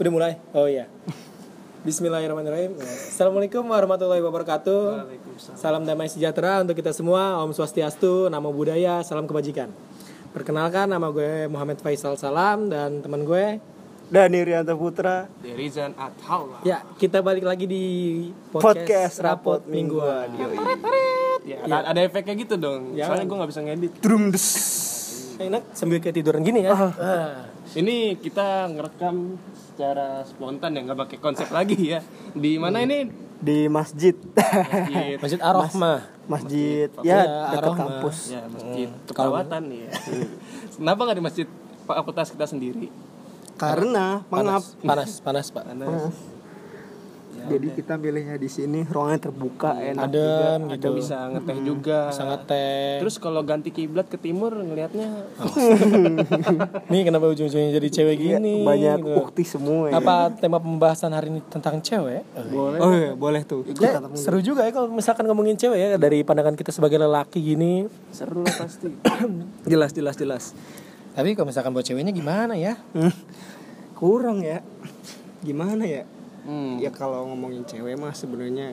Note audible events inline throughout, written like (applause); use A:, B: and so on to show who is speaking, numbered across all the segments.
A: Udah mulai? Oh iya. Bismillahirrahmanirrahim. Assalamualaikum warahmatullahi wabarakatuh.
B: Waalaikumsalam.
A: Salam damai sejahtera untuk kita semua. Om Swastiastu, Namo Buddhaya, salam kebajikan. Perkenalkan nama gue Muhammad Faisal Salam dan teman gue.
C: Dani Rianto Putra
B: Dari Rizan Athaula.
A: Ya, kita balik lagi di
C: podcast, rapot mingguan Yoi.
B: Ya, ada- ada efeknya gitu dong.
A: Ya.
B: Soalnya gue nggak bisa ngedit.
C: Drum des.
A: Enak sambil ketiduran gini ya. Ah.
B: Ini kita ngerekam secara spontan ya, nggak pakai konsep (laughs) lagi ya. Di mana ini?
C: di masjid (laughs)
B: Masjid.
A: (laughs) Masjid Ar-Rahmah.
C: masjid
A: Ya,
C: ya dekat
A: Aroma.
C: kampus
B: Ya, masjid
A: kalau-
B: keperawatan ya. (laughs) Kenapa nggak di masjid fakultas kita sendiri?
C: karena mengap
A: Panas, panas, panas, Pak.
B: Karena
C: Ya, jadi kita milihnya di sini ruangan terbuka enak
A: Adem gitu.
B: bisa ngeteh juga.
A: Bisa ngeteh.
B: Terus kalau ganti kiblat ke timur ngelihatnya
A: Nih kenapa ujung-ujungnya jadi cewek gini?
C: banyak
A: gitu.
C: ukti semua ya.
A: Apa tema pembahasan hari ini tentang cewek?
B: boleh.
C: oh iya, boleh tuh
A: Ya, seru juga ya kalau misalkan ngomongin cewek ya dari pandangan kita sebagai lelaki gini.
B: Seru lah pasti.
C: jelas jelas jelas
A: Tapi kalau misalkan buat ceweknya gimana ya?
C: Hmm. (coughs) kurang ya gimana ya
B: Hmm.
C: ya kalau ngomongin cewek mah sebenarnya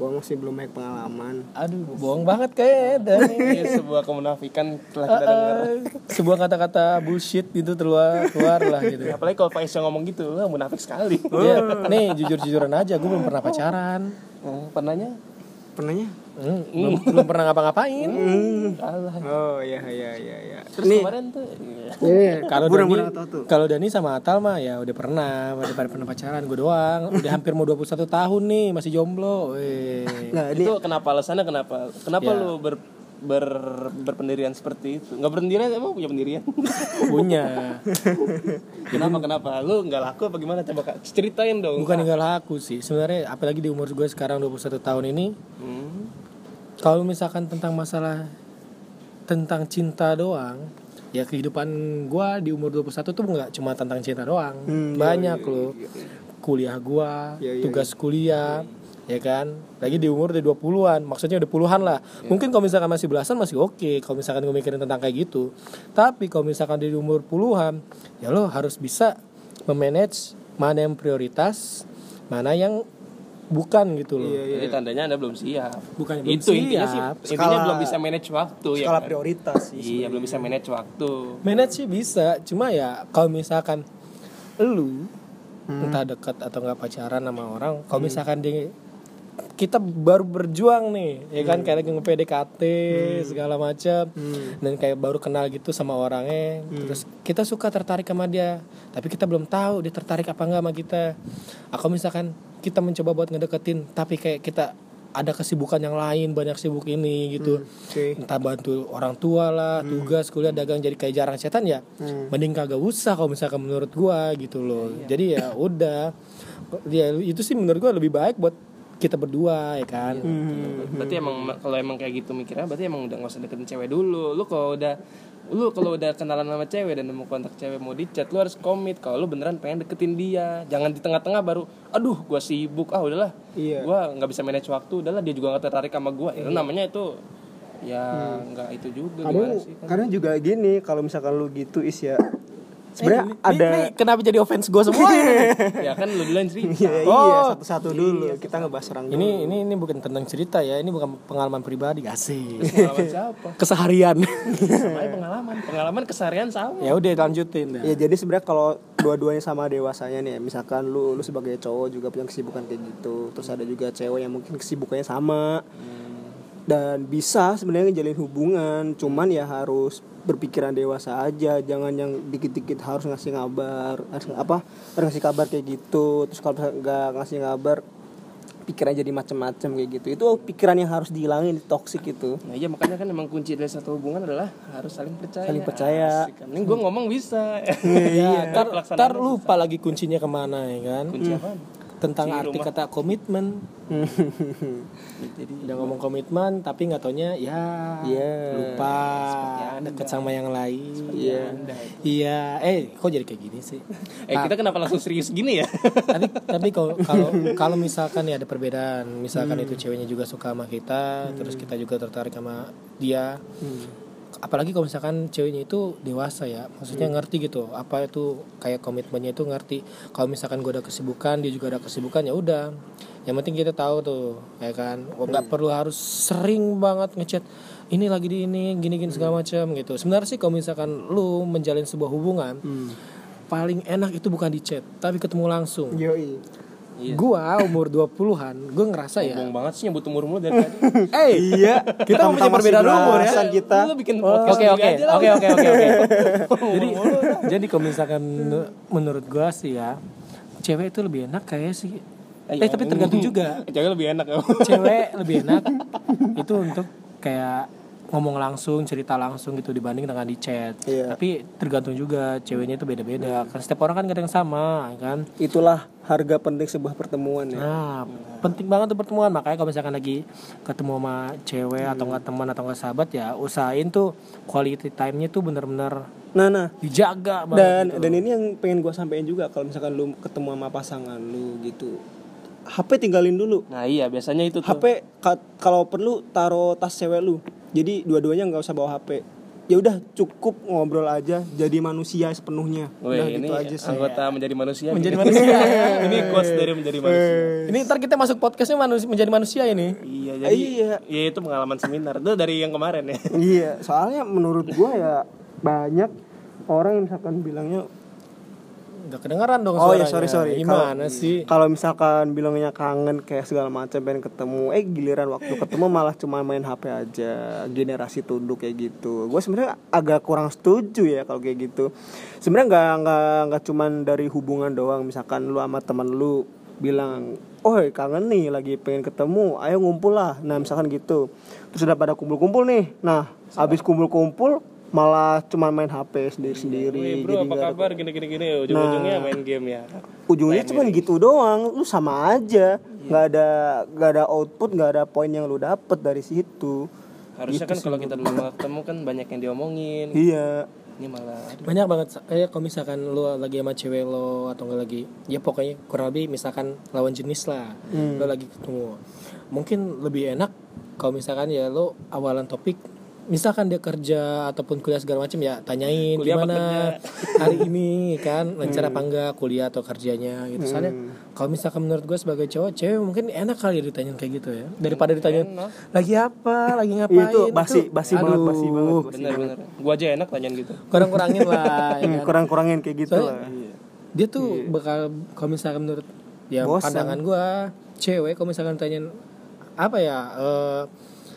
C: gua masih belum banyak pengalaman
A: Aduh, bohong banget kayak
B: Ini sebuah kemunafikan telah kita
A: Uh-uh.
B: dengar.
A: (laughs) sebuah kata-kata bullshit gitu keluar keluar lah gitu. (laughs)
B: Apalagi kalau Faisal ngomong gitu, wah munafik sekali.
A: Ya, nih jujur-jujuran aja, gue belum pernah pacaran,
B: Nah, pernahnya?
C: pernahnya
A: Hmm, belum, belum pernah ngapa-ngapain.
B: Kalah.
C: oh iya iya iya iya
B: Terus kemarin tuh iya.
A: Kalau Dani,
C: Burang- burang atau tuh?
A: kalau Dani sama Atal mah ya udah pernah, udah pernah pernah pacaran gue doang. Udah hampir mau 21 tahun nih, masih jomblo. Weh.
C: nah ini
B: itu kenapa alasannya kenapa? Kenapa
A: Ya.
B: lu ber, ber- berpendirian seperti itu? Nggak berpendirian emang punya pendirian?
A: Ya. Punya.
B: kenapa kenapa? Lu nggak laku apa gimana coba Kak? Ceritain dong.
A: Bukan tinggal aku sih. Sebenarnya apalagi di umur gue sekarang 21 tahun ini,
B: Hmm.
A: kalau misalkan tentang masalah tentang cinta doang, ya kehidupan gue di umur 21 tuh nggak cuma tentang cinta doang.
C: Hmm,
A: Banyak loh. Kuliah gue,
C: Iya, iya,
A: tugas kuliah, ya kan? Lagi di umur udah 20-an, maksudnya udah puluhan lah.
C: Iya.
A: Mungkin kalau misalkan masih belasan masih oke kalau misalkan gue mikirin tentang kayak gitu. Tapi kalau misalkan di umur puluhan, ya lo harus bisa memanage mana yang prioritas, mana yang bukan gitu loh.
C: Iya, iya.
B: Jadi tandanya Anda belum siap.
A: Bukan belum
B: itu intinya sih,
A: siap.
B: intinya
C: Skala-
B: belum bisa manage waktu ya.
C: skala
B: kan?
C: prioritas sih
B: Iya, belum bisa manage waktu.
A: Manage sih bisa, cuma ya kalau misalkan lu entah dekat atau nggak pacaran sama orang, kalau misalkan dia kita baru berjuang nih, ya kan kayak lagi nge-PDKT segala macam dan kayak baru kenal gitu sama orangnya, terus kita suka tertarik sama dia, tapi kita belum tahu dia tertarik apa nggak sama kita. Aku misalkan kita mencoba buat ngedeketin, tapi kayak kita ada kesibukan yang lain, banyak sibuk ini gitu
C: Oke.
A: entah bantu orang tua lah tugas kuliah dagang jadi kayak jarang setan ya
C: Hmm.
A: mending kagak usah kalau misalkan menurut gua gitu loh jadi ya udah ya itu sih menurut gua lebih baik buat kita berdua ya kan
C: Hmm.
B: Berarti emang kalau emang kayak gitu mikirnya berarti emang udah nggak usah deketin cewek dulu. Lu kalau udah lu kalau udah kenalan sama cewek dan nemu kontak cewek mau di chat lu harus komit kalau lu beneran pengen deketin dia jangan di tengah-tengah baru aduh gua sibuk ah udahlah
C: Iya.
B: gua nggak bisa manage waktu udahlah dia juga nggak tertarik sama gua itu namanya itu ya
C: Hmm.
B: nggak itu juga
C: kadang
B: gimana sih Eh,
C: kadang juga gini kalau misalkan lu gitu is ya sebenarnya
A: Eh,
C: ada
A: ini- ini kenapa jadi offense gua semua ini?
B: ya kan lu duluan cerita
C: (laughs) iya iya
B: Oh,
C: satu-satu dulu kita ngebahas orang dulu
A: ini ini ini bukan tentang cerita ya ini bukan pengalaman pribadi asik
B: pengalaman siapa
A: (laughs) keseharian
B: sama aja pengalaman pengalaman keseharian sama
A: ya udah lanjutin dah.
C: ya jadi sebenarnya kalau dua-duanya sama dewasanya nih misalkan lu lu sebagai cowok juga punya kesibukan kayak gitu terus ada juga cewek yang mungkin kesibukannya sama dan bisa sebenarnya ngejalin hubungan cuman ya harus berpikiran dewasa aja jangan yang dikit-dikit harus ngasih kabar harus apa harus ngasih kabar kayak gitu terus kalau misalkan nggak ngasih kabar pikiran jadi macem-macem kayak gitu itu pikiran yang harus dihilangin toksik itu
B: Nah iya makanya kan emang kunci dari satu hubungan adalah harus saling percaya.
C: Saling percaya. Iya,
B: Asik kan. Ini gue ngomong bisa.
A: Ya, ntar,
B: pelaksanaan
A: ntar lupa lagi kuncinya kemana ya kan
B: Kunci apaan?
A: tentang
B: Kunci
A: arti
B: rumah.
A: kata komitmen
B: (laughs) Jadi
A: udah ngomong komitmen tapi nggak taunya ya
C: Iya.
A: lupa deket sama yang lain iya iya eh kok jadi kayak gini sih
B: eh kita kenapa langsung serius gini ya?
A: tapi tapi kalau kalau kalau misalkan ya ada perbedaan
B: Hmm.
C: Hmm.
A: misalkan itu ceweknya juga suka sama kita terus kita juga tertarik sama dia apalagi kalau misalkan ceweknya itu dewasa ya maksudnya ngerti gitu apa itu kayak komitmennya itu ngerti kalau misalkan gue ada kesibukan dia juga ada kesibukan ya udah yang penting kita tahu tuh ya kan Gua nggak perlu harus sering banget ngechat ini lagi di ini gini gini segala macam gitu sebenarnya sih kalau misalkan lu menjalin sebuah hubungan
C: Hmm.
A: paling enak itu bukan di chat tapi ketemu langsung
C: Yoi.
A: gua umur 20-an gua ngerasa ya
B: Ngomong banget sih nyebut umur mulu dari tadi.
A: eh
C: Iya,
A: Kita
C: Tentang
A: mempunyai
C: masih
A: perbedaan umur ya.
C: belasan kita.
B: Lu bikin podcast
D: Oke
B: sendiri
D: oke
B: aja lah.
D: oke oke oke oke.
B: (laughs)
A: jadi jadi kalau misalkan menurut gua sih ya cewek itu lebih enak kayak sih eh,
B: iya.
A: tapi tergantung juga
B: Cewek lebih enak ya.
A: cewek lebih enak itu untuk kayak ngomong langsung cerita langsung gitu dibanding dengan di chat
C: Iya.
A: tapi tergantung juga ceweknya itu beda-beda
B: Iya.
A: kan setiap orang kan kadang sama kan
C: Itulah harga penting sebuah pertemuan
B: Iya.
C: ya.
A: Nah, penting banget tuh pertemuan. Makanya kalau misalkan lagi ketemu sama cewek atau
B: Iya.
A: nggak teman atau nggak sahabat ya usahain tuh quality time-nya tuh bener-bener
C: Nah, nah.
A: dijaga banget.
C: Dan dan ini yang pengen gua sampein juga kalau misalkan lu ketemu sama pasangan lu gitu. HP tinggalin dulu.
B: Nah iya biasanya itu tuh.
C: HP ka- kalau perlu taruh tas cewek lu. Jadi dua-duanya nggak usah bawa HP. Ya udah cukup ngobrol aja jadi manusia sepenuhnya.
B: Weh,
C: udah
B: ini
C: gitu aja sih.
B: anggota menjadi manusia. Menjadi manusia. (laughs) ini quotes dari menjadi manusia.
A: Ini ntar kita masuk podcastnya manusia, menjadi manusia ini.
B: Iya jadi
C: Iya.
B: ya itu pengalaman seminar itu dari yang kemarin ya.
C: Iya, soalnya menurut gua ya banyak orang yang misalkan bilangnya
A: Udah kedengeran dong
C: Oh ya
A: suaranya.
C: sorry sorry.
A: Gimana
C: Kalau-
A: sih?
C: Kalau misalkan bilangnya kangen kayak segala macam pengen ketemu, eh giliran waktu ketemu malah cuma main HP aja. Generasi tunduk kayak gitu. Gue sebenarnya agak kurang setuju ya kalau kayak gitu. Sebenarnya nggak nggak nggak cuman dari hubungan doang. Misalkan lu sama teman lu bilang, oh kangen nih lagi pengen ketemu, ayo ngumpul lah. Nah misalkan gitu. Terus udah pada kumpul-kumpul nih. Nah habis kumpul-kumpul malah cuma main HP
B: Wih
C: sendiri-sendiri.
B: bro
C: Jadi
B: apa
C: nggak ada
B: kabar gini gini gini ujung-ujungnya main game ya.
C: ujungnya cuman gitu doang lu sama aja nggak ada nggak ada output nggak ada poin yang lu dapet dari situ
B: Harusnya kan kalau kita dulu ketemu kan banyak yang diomongin.
C: iya
B: Ini malah
A: Banyak banget kayak kalau misalkan lu lagi sama cewek lo atau nggak lagi ya pokoknya kurang lebih misalkan lawan jenis lah.
B: Hmm.
A: Lo lagi ketemu. Mungkin lebih enak kalau misalkan ya lo awalan topik misalkan dia kerja ataupun kuliah segala macam ya tanyain
B: Kuliah apa Hmm.
A: gimana hari ini
B: (laughs)
A: kan lancar apa enggak kuliah atau kerjanya gitu soalnya kalau misalkan menurut gue sebagai cowok cewek mungkin enak kali ya ditanyain kayak gitu ya daripada ditanyain lagi apa lagi ngapain
C: Iya, itu basi basi banget
A: aduh,
C: basi banget basi banget.
B: bener-bener. Gua aja enak tanyain gitu.
A: kurang-kurangin
B: (laughs)
A: lah ya
C: Hmm,
A: kan?
C: kurang-kurangin kayak gitu
A: Soalnya-
C: lah
A: dia tuh bakal kalau misalkan menurut ya
C: Bosan.
A: pandangan gua cewek kalau misalkan tanyain apa ya eh,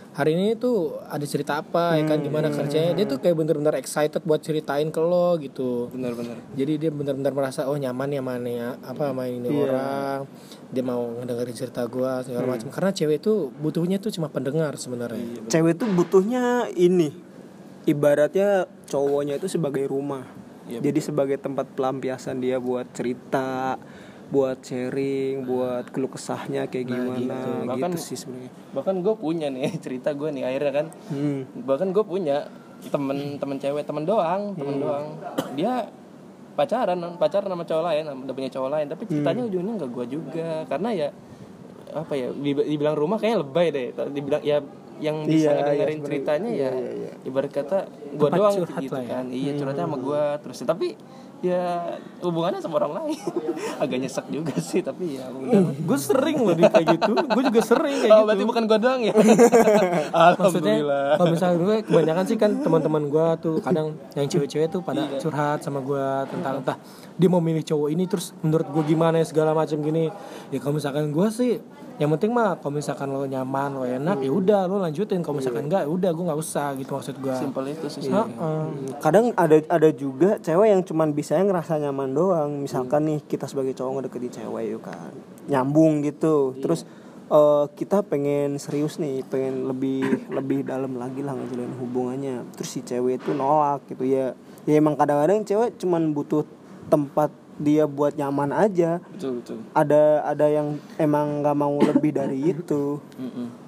A: hari ini tuh ada cerita apa ya
C: Hmm.
A: kan gimana kerjanya dia tuh kayak bener-bener excited buat ceritain ke lo gitu
B: Bener-bener.
A: jadi dia benar-benar merasa oh nyaman ya mana ya apa main
C: Iya.
A: ini orang dia mau ngedengerin cerita gua segala
C: Hmm.
A: macam karena cewek itu butuhnya tuh cuma pendengar sebenarnya
C: cewek tuh butuhnya ini ibaratnya cowoknya itu sebagai rumah jadi sebagai tempat pelampiasan dia buat cerita buat sharing buat keluh kesahnya kayak gimana gitu,
B: Bahkan-
C: sih sebenarnya
B: Bahkan gue punya nih cerita gue nih akhirnya kan.
C: Hmm.
B: Bahkan gue punya temen-temen cewek temen doang, temen doang. Dia pacaran, pacaran sama cowok lain, sama- udah punya cowok lain. Tapi ceritanya ujungnya nggak gue juga, karena ya apa ya dib- dibilang rumah kayaknya lebay deh. Dibilang ya yang bisa ngedengerin ceritanya ya ibarat kata gue doang gitu kan. Iya curhatnya sama gue terus tapi ya hubungannya sama orang lain (laughs) agak nyesek juga sih tapi ya udah lah.
A: gue sering loh kayak gitu gue juga sering
B: Oh, berarti bukan gue doang ya?
A: maksudnya
B: Alhamdulillah.
A: kalau misalnya gue kebanyakan sih kan teman-teman gue tuh kadang yang cewek-cewek tuh pada
C: Iya.
A: curhat sama gue tentang entah dia mau milih cowok ini terus menurut gue gimana ya segala macam gini ya kalau misalkan gue sih yang penting mah kalau misalkan lo nyaman lo enak ya udah lo lanjutin kalau
C: Iya.
A: misalkan enggak ya udah gue nggak usah gitu maksud gue
B: Simpel itu sih.
A: Heeh.
C: kadang ada ada juga cewek yang cuman bisa ngerasa nyaman doang misalkan nih kita sebagai cowok ngedeketin cewek yuk kan nyambung gitu terus eh, kita pengen serius nih pengen (coughs) lebih lebih dalam lagi lah ngejalin hubungannya terus si cewek itu nolak gitu ya ya emang kadang-kadang cewek cuman butuh tempat dia buat nyaman aja
B: Betul betul.
C: ada ada yang emang nggak mau lebih (coughs) dari itu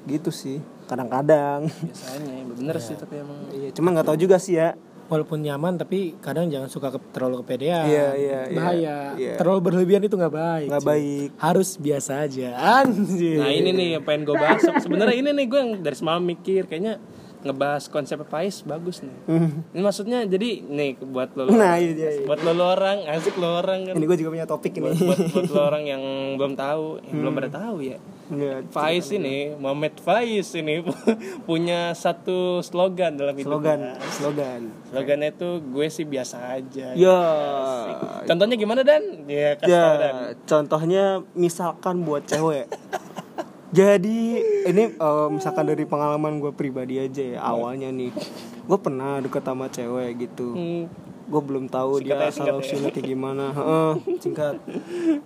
C: gitu sih kadang-kadang
B: Biasanya ya, bener sih tapi emang
C: iya cuman nggak tahu juga sih ya
A: walaupun nyaman tapi kadang jangan suka ke- terlalu kepedean
C: Iya, iya, iya.
A: bahaya
C: Iya.
A: terlalu berlebihan itu nggak baik
C: nggak
A: cuy.
C: baik
A: harus biasa aja anjir
B: Nah ini nih yang pengen gue bahas. Sebenarnya ini nih gue yang dari semalam mikir kayaknya ngebahas konsep Pais bagus nih.
C: Hmm.
B: Ini maksudnya jadi nih buat lo
C: (laughs) Nah, iya, iya, iya.
B: buat lo lo orang asik lo orang kan.
C: Ini gue juga punya topik
B: Buat,
C: ini.
B: buat, buat lo orang yang belum tahu,
C: Hmm.
B: eh, belum pada tahu ya.
C: Iya,
B: Faiz ini, Muhammad Faiz ini (laughs) punya satu slogan dalam hidup.
C: slogan, slogan.
B: Slogannya itu gue sih biasa aja.
C: Ya.
B: Contohnya gimana Dan? Ya kasih
C: Ya,
B: tau, Dan.
C: contohnya misalkan buat cewek. Jadi ini eh, misalkan dari pengalaman gue pribadi aja ya awalnya nih gue pernah deket sama cewek gitu
B: Hmm,
C: gue belum tahu
B: Singkat
C: dia
B: aja, singkat
C: asal
B: ya.
C: usulnya kayak gimana Heeh, singkat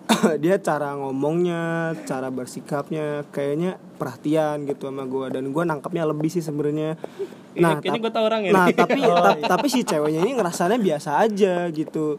C: (laughs) dia cara ngomongnya cara bersikapnya kayaknya perhatian gitu sama gue dan gue nangkapnya lebih sih sebenarnya nah
B: kayaknya
C: tap-
B: gua tau orang ya
C: nah
B: nih. (laughs)
C: tapi tap- tapi si ceweknya ini ngerasanya biasa aja gitu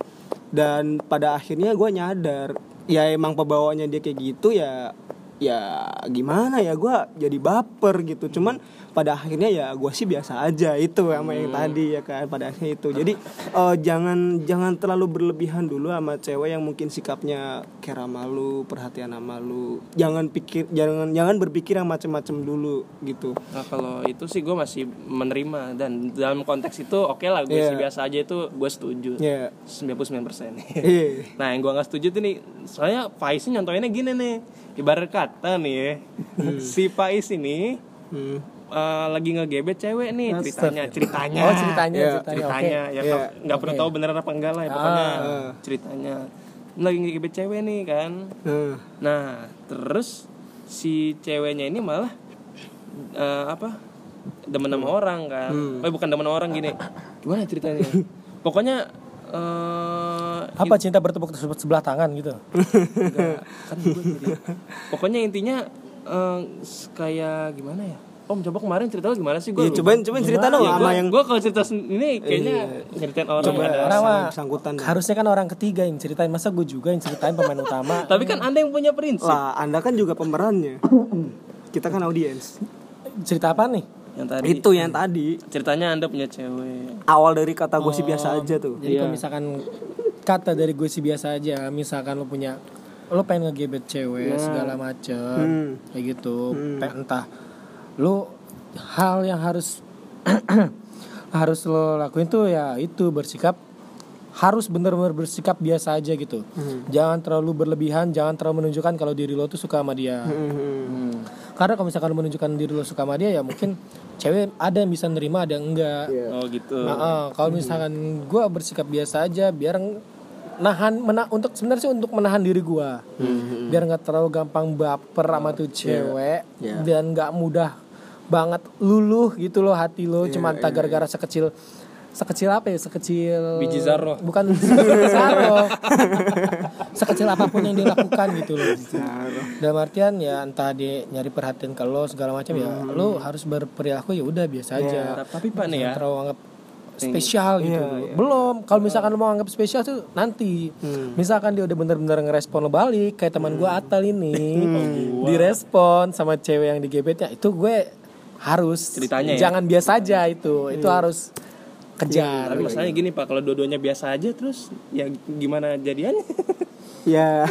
C: dan pada akhirnya gue nyadar ya emang pembawanya dia kayak gitu ya ya gimana ya gue jadi baper gitu cuman pada akhirnya ya gue sih biasa aja itu sama yang
B: Hmm.
C: tadi ya kan pada akhirnya itu jadi eh, jangan jangan terlalu berlebihan dulu sama cewek yang mungkin sikapnya care sama lu perhatian sama lu jangan pikir jangan jangan berpikir yang macem-macem dulu gitu
B: Nah kalau itu sih gue masih menerima dan dalam konteks itu oke lah gue
C: Iya.
B: sih biasa aja itu gue setuju
A: Iya.
B: (laughs)
C: ya
B: 99%
C: eh
B: Nah yang gue gak setuju tuh nih Soalnya Faiz ini nyontohinnya gini nih Ibarat kata nih ya
A: Hmm.
B: Si Faiz ini
C: Hmm.
B: eh, lagi ngegebet cewek nih ceritanya ceritanya
A: Oh, ceritanya,
B: Iya,
A: ceritanya,
B: ceritanya ya
C: Iya.
B: nggak pernah tahu beneran apa enggak lah ya pokoknya
A: Ah.
B: ceritanya lagi ngegebet cewek nih kan
C: Nah.
B: Nah, terus si ceweknya ini malah eh, apa? Demen sama
C: Hmm.
B: orang kan. Oh, bukan demen sama orang gini. Gimana
C: (laughs)
B: ceritanya? Pokoknya eh
C: Nah,
A: Apa cinta bertepuk se- sebelah tangan gitu?
B: enggak. kan gua jadi. Pokoknya intinya eh, s- kayak gimana ya? Om coba kemarin cerita lu gimana sih gue?
C: Ya, cobain cobain cerita dong sama yang Iya.
B: gue kalau cerita sen- ini kayaknya ceritain orang ada.
A: Orang mah
C: yang bersangkutan dah.
A: harusnya kan orang ketiga yang ceritain masa gue juga yang ceritain pemain utama
B: Tapi kan anda yang punya prinsip.
C: lah Anda kan juga pemerannya. Kita kan audiens.
A: cerita apa nih
B: Yang tadi
C: Itu yang tadi
B: ceritanya anda punya cewek.
C: awal dari kata gue sih biasa aja tuh.
A: jadi kalau misalkan kata dari gue sih biasa aja misalkan lo punya lo pengen ngegebet cewek segala macem
C: Hmm.
A: kayak gitu Pe- entah lo hal yang harus (clears throat) harus lo lakuin tuh ya itu bersikap harus bener-bener bersikap biasa aja gitu jangan terlalu berlebihan jangan terlalu menunjukkan kalau diri lo tuh suka sama dia
C: Hmm.
A: Hmm. karena kalau misalkan lo menunjukkan diri lo suka sama dia ya mungkin cewek ada yang bisa nerima ada yang enggak
B: Oh gitu.
A: Nah, eh, kalau misalkan gue bersikap biasa aja, biar ng- nahan mena untuk sebenarnya sih untuk menahan diri gue, biar nggak terlalu gampang baper sama tuh cewek
C: Yeah.
A: dan nggak mudah banget luluh gitu loh hati lo, cuman tak gara-gara sekecil sekecil apa ya sekecil
B: Biji zarro.
A: bukan sekecil zarro (laughs) sekecil apapun yang dilakukan gitu loh dalam artian ya entah dia nyari perhatian ke lo segala macam ya lo harus berperilaku ya udah biasa aja
C: Iya.
B: Tapi Pak nih ya,
A: terlalu anggap spesial gitu Iya. dulu. belum kalau misalkan lo mau anggap spesial tuh nanti misalkan dia udah bener-bener ngerespon lo balik kayak teman gua Atal (laughs) ini direspon sama cewek yang digebetnya itu gue harus
B: Ceritanya ya?
A: jangan biasa aja itu itu harus kejar
B: Nah, Tapi masalahnya gini pak, kalau dua-duanya biasa aja terus ya gimana jadiannya?
C: (laughs) Ya.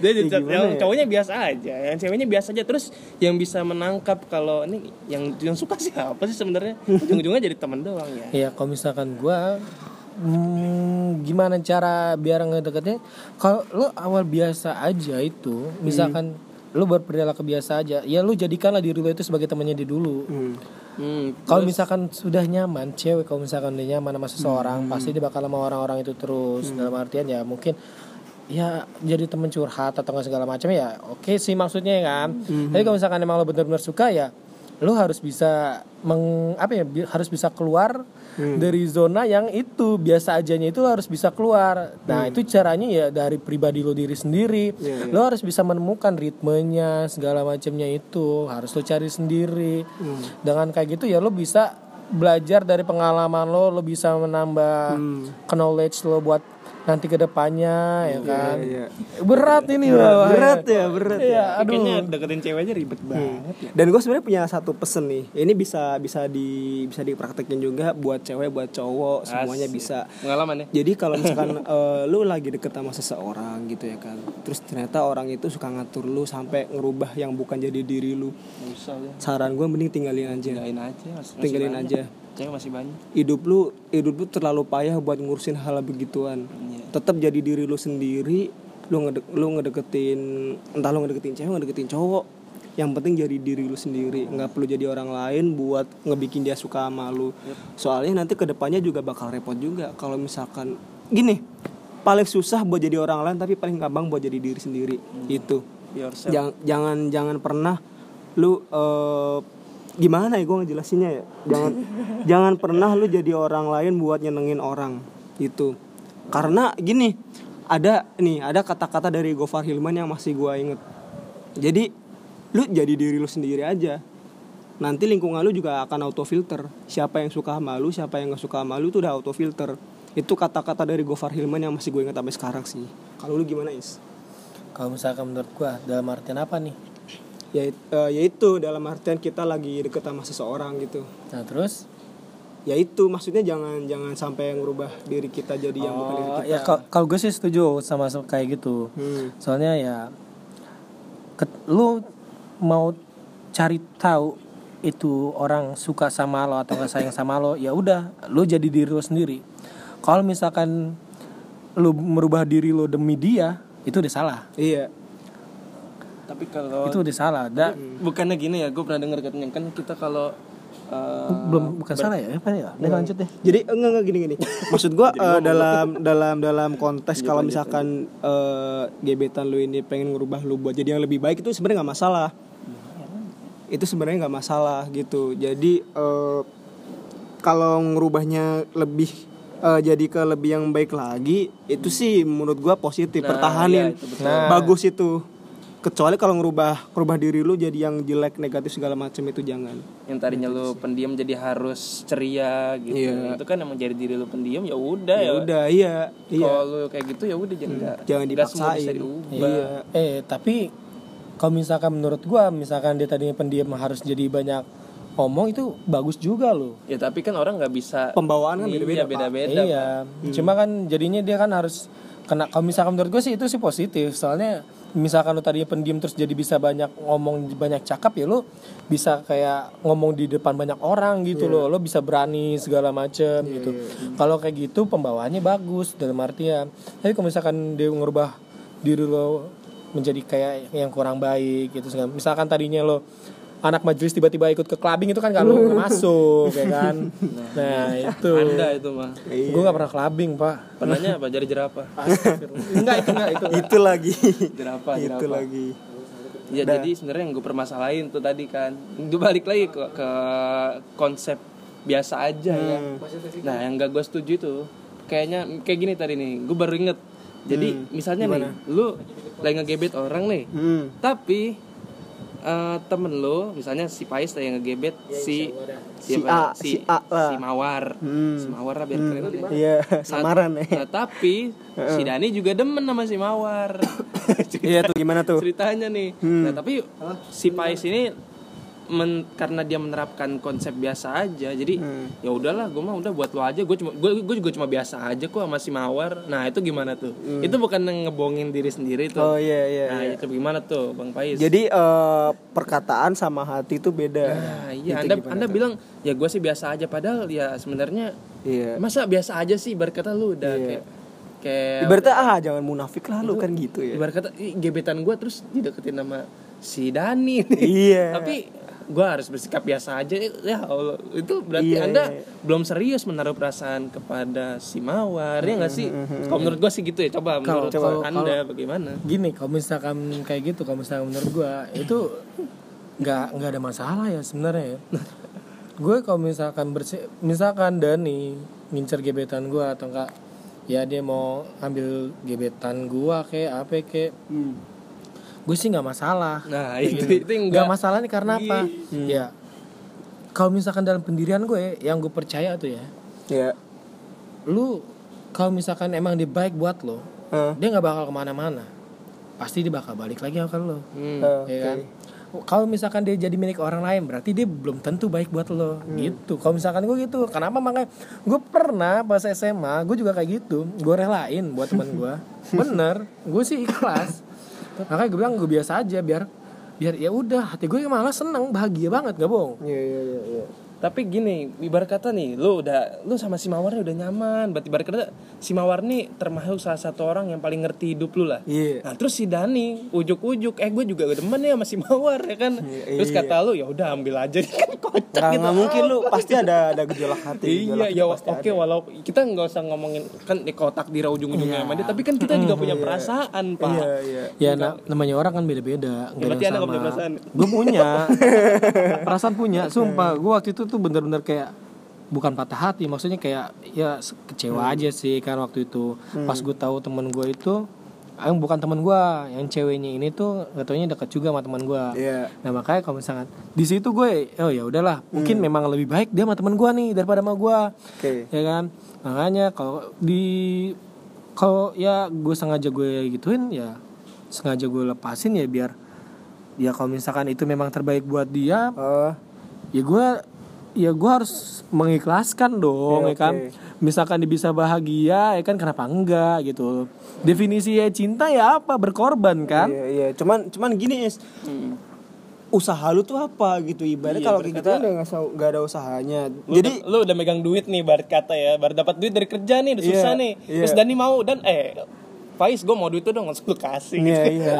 C: Ya,
B: Dia jadi-
C: gimana
B: yang
C: ya?
B: cowoknya biasa aja, yang ceweknya biasa aja terus yang bisa menangkap kalau ini yang yang suka siapa sih sebenarnya? Ujung-ujungnya jadi teman doang ya.
A: Ya kalau misalkan gua hmm, gimana cara biar ngedeketnya? Kalau lu awal biasa aja itu, misalkan lu berperilaku biasa aja, ya lu jadikanlah diri lu itu sebagai temannya dia dulu.
B: Hmm,
A: Kalau misalkan sudah nyaman, cewek kalau misalkan udah nyaman sama seseorang,
C: Hmm.
A: pasti dia bakal sama orang-orang itu terus. Dalam artian ya mungkin ya jadi temen curhat atau nggak segala macam ya oke sih maksudnya ya kan
C: Hmm.
A: tapi kalau misalkan emang lo benar-benar suka ya lo harus bisa meng apa ya bi- harus bisa keluar
C: Hmm.
A: dari zona yang itu biasa ajanya itu lo harus bisa keluar nah itu caranya ya dari pribadi lo diri sendiri
C: Hmm. Iya, iya.
A: lo harus bisa menemukan ritmenya segala macamnya itu harus lo cari sendiri
C: Hmm.
A: dengan kayak gitu ya lo bisa belajar dari pengalaman lo lo bisa menambah knowledge lo buat nanti kedepannya ya kan
C: Hmm. Iya,
A: berat ini loh
C: Berat ya, berat ya.
A: Iya, aduh
B: Kayaknya deketin ceweknya ribet banget.
C: Dan gue sebenarnya punya satu pesen nih. Ini bisa bisa di bisa dipraktekin juga buat cewek, buat cowok, semuanya
B: Asik.
C: bisa.
B: Pengalaman ya.
C: Jadi
B: (laughs)
C: kalau misalkan eh, lu lagi deket sama seseorang gitu ya kan. Terus ternyata orang itu suka ngatur lu sampai ngerubah yang bukan jadi diri lu.
B: Nggak usah ya.
C: Saran gue mending tinggalin aja.
B: Tinggalin aja. Mas. Masih
C: Tinggalin
B: banyak.
C: aja.
B: Cewek masih banyak.
C: Hidup lu hidup lu terlalu payah buat ngurusin hal begituan.
B: Iya.
C: Tetap jadi diri lu sendiri. Lu ngedek, lu ngedeketin entah lu ngedeketin cewek, ngedeketin cowok. Yang penting jadi diri lu sendiri, nggak perlu jadi orang lain buat ngebikin dia suka sama lu. Soalnya nanti kedepannya juga bakal repot juga kalau misalkan gini, paling susah buat jadi orang lain tapi paling gampang buat jadi diri sendiri. Itu.
B: Hmm. Yourself.
C: jangan jangan jangan pernah lu eh, gimana ya gue ngejelasinnya ya jangan jangan pernah lu jadi orang lain buat nyenengin orang gitu karena gini ada nih ada kata-kata dari Gofar Hilman yang masih gue inget jadi lu jadi diri lu sendiri aja nanti lingkungan lu juga akan auto filter siapa yang suka sama lu siapa yang gak suka sama lu itu udah auto filter itu kata-kata dari Gofar Hilman yang masih gue inget sampai sekarang sih kalau lu gimana is
A: kalau misalkan menurut gua dalam artian apa nih
C: ya eh, yaitu dalam artian kita lagi deket sama seseorang gitu
A: nah terus
C: yaitu Ya maksudnya jangan jangan sampai ngerubah diri kita jadi yang bukan diri
A: Oh,
C: kita
A: ya kal- kalau gue sih setuju sama sama kayak gitu
C: Hmm.
A: soalnya ya ket- lu mau cari tahu itu orang suka sama lo atau nggak sayang sama lo ya udah lu jadi diri lo sendiri kalau misalkan lu merubah diri lo demi dia itu udah salah
C: iya
B: Tapi kalau
A: itu udah salah da
B: bukannya gini ya, gue pernah dengar katanya kan kita kalau eh,
A: belum bukan salah ya apa ya Udah, lanjut deh
C: jadi enggak enggak gini gini maksud gua eh, dalam dalam dalam konteks kalau misalkan eh, gebetan lu ini pengen ngerubah lu buat jadi yang lebih baik itu sebenarnya nggak masalah itu sebenarnya nggak masalah gitu jadi eh, kalau ngerubahnya lebih eh, jadi ke lebih yang baik lagi itu sih menurut gua positif pertahanin Nah,
B: iya, itu
C: bagus itu kecuali kalau ngerubah ngerubah diri lu jadi yang jelek negatif segala macam itu jangan
B: yang tadinya lu pendiam jadi harus ceria gitu.
C: Iya.
B: Itu kan emang jadi diri lu pendiam ya udah ya.
C: ya udah iya iya
B: Kalau lu kayak gitu ya udah jangan nggak-
C: jangan
B: nggak semua bisa
C: dipaksain.
B: diubah.
C: Iya.
A: Eh tapi kalau misalkan menurut gua misalkan dia tadinya pendiam harus jadi banyak ngomong itu bagus juga loh.
B: Ya tapi kan orang nggak bisa
C: Pembawaan kan
B: Iya,
C: beda-beda, Pak.
B: beda-beda. Hmm.
A: iya. Cuma kan jadinya dia kan harus kena kalau misalkan menurut gua sih itu sih positif. Soalnya misalkan lu tadinya pendiam terus jadi bisa banyak ngomong banyak cakap ya lu bisa kayak ngomong di depan banyak orang gitu loh.
B: Iya.
A: Lo bisa berani segala macem gitu. Kalau kayak gitu pembawaannya bagus dalam artian. Tapi kalau misalkan dia ngerubah diri lo menjadi kayak yang kurang baik gitu segala- misalkan tadinya lo anak majelis tiba-tiba ikut ke clubbing itu kan
B: (laughs)
A: kalau nggak masuk ya kan nah itu
B: Anda itu mah.
A: gue nggak pernah clubbing pak
B: Pernahnya apa? Jari jerapah.
A: enggak itu enggak itu
C: (laughs) itu lagi
B: Jerapah,
C: itu Nah.
B: jerapah.
C: lagi
B: Ya jadi sebenarnya yang gue permasalahin tuh tadi kan. Itu balik lagi ke, ke konsep biasa aja ya.
C: Hmm.
B: Nah, yang gak gue setuju itu kayaknya kayak gini tadi nih. Gue baru inget. Jadi misalnya nih, lu lagi ngegebet orang nih.
C: hmm.
B: Tapi eh, temen lo misalnya si Pais tadi yang ngegebet si
C: A,
B: siapa?
C: si A lah. Hmm.
B: si Mawar. Si Mawar lah biar keren aja.
C: iya samaran
B: (laughs)
C: ya
B: Nah, tapi si Dani juga demen sama
C: (coughs)
B: si Mawar.
C: iya tuh gimana tuh
B: Ceritanya nih.
C: Hmm.
B: Nah, tapi si Pais ini men- karena dia menerapkan konsep biasa aja. Jadi
C: Hmm.
B: ya udahlah, gue mah udah buat lo aja. Gue cuma gue gue juga cuma biasa aja kok sama si Mawar. Nah, itu gimana tuh? Itu bukan ngebohongin diri sendiri
C: Hmm. oh
B: tuh.
C: iya iya
B: nah, iya. itu gimana tuh, Bang Pais?
C: jadi eh, perkataan sama hati itu beda Gitu
B: Nah, iya, Anda Anda bilang ya gue sih biasa aja padahal ya sebenarnya
C: iya
B: masa biasa aja sih ibarat kata lu udah kayak kayak
C: ibaratnya ah jangan munafik lah lu kan gitu ya
B: Iya. ibarat kata "Ih, gebetan gue terus dideketin sama si Dani nih.
C: Iya.
B: (laughs) tapi gue harus bersikap biasa aja ya Allah itu berarti
C: Iya,
B: anda
C: iya.
B: belum serius menaruh perasaan kepada si mawar ya nggak sih
C: Mm-hmm,
B: kalau menurut gue sih gitu ya coba menurut anda bagaimana
A: gini kalau misalkan kayak gitu kalau misalkan menurut gue itu nggak nggak ada masalah ya sebenarnya ya. gue kalau misalkan bersi misalkan Dani ngincer gebetan gue atau enggak ya dia mau ambil gebetan gue kayak apa kayak
C: Hmm.
B: Hmm.
A: gue sih nggak masalah gitu.
B: nah itu itu yang
A: nggak
B: nggak- Iya.
A: masalah nih karena apa ya ya,
C: Iya.
A: kalau misalkan dalam pendirian gue yang gue percaya tuh ya
C: ya
A: lu kalau misalkan emang dia baik buat lo
C: Heeh.
A: dia nggak bakal kemana-mana pasti dia bakal balik lagi ke lo
C: Heeh,
B: Hmm.
A: ya
C: Oh, oke.
A: kan? Kalau misalkan dia jadi milik orang lain berarti dia belum tentu baik buat lo gitu. Kalau misalkan gue gitu, kenapa makanya gue pernah pas SMA gue juga kayak gitu, gue relain buat teman gue, bener, gue sih ikhlas. makanya gue bilang gue biasa aja biar biar ya udah hati gue malah seneng bahagia banget gak bohong.
C: Iya iya iya iya.
B: Tapi gini, ibarat kata nih, lu udah lu sama si Mawar nih udah nyaman. Berarti ibarat kata si Mawar nih termasuk salah satu orang yang paling ngerti hidup lu lah.
C: Iya.
B: Nah, terus si Dani ujuk-ujuk, eh gue juga demen ya sama si Mawar ya kan.
C: Iya,
B: Terus
C: iya.
B: kata lu ya udah ambil aja (laughs) kan kocak
C: Nggak-
B: gitu.
C: nggak mungkin lu pasti ada ada gejolak hati.
B: Iya,
C: gejolak
B: ya
C: itu
B: oke
C: pasti ada.
B: walau kita nggak usah ngomongin kan di kotak di ujung-ujungnya sama dia, tapi kan kita juga punya perasaan, Pak.
C: Iya iya.
A: Ya na- namanya orang kan beda-beda, nggak ada
B: berarti
A: yang
B: Anda nggak punya
A: sama.
B: perasaan.
A: Gue punya, (laughs) perasaan punya. Sumpah, gue waktu itu tuh bener-bener kayak bukan patah hati, maksudnya kayak ya se- kecewa aja sih kan waktu itu. Pas gue tahu temen gue itu, yang bukan temen gue, yang ceweknya ini tuh gak taunya deket juga sama temen gue.
C: Iya.
A: Nah makanya kalau misalkan di situ gue, oh ya udahlah, mungkin memang lebih baik dia sama temen gue nih daripada sama gue,
C: Oke.
A: ya kan? Makanya kalau di kalau ya gue sengaja gue gituin ya sengaja gue lepasin ya biar ya kalau misalkan itu memang terbaik buat dia
C: Oh,
A: ya gue ya gue harus mengikhlaskan dong ya
C: Iya,
A: kan
C: oke.
A: misalkan dia bisa bahagia ya kan kenapa enggak gitu definisi ya cinta ya apa berkorban kan
C: Iya iya. Cuman cuman gini is. Usaha lu tuh apa gitu ibaratnya kalau kayak gitu udah nggak usah- nggak ada usahanya.
B: Lu
C: Jadi
B: udah- lu udah megang duit nih barat kata ya baru dapat duit dari kerja nih udah
C: Iya,
B: susah nih
C: iya.
B: terus Dani mau dan eh Faiz gue mau duit tuh dong langsung lu kasih (laughs)
C: Iya iya.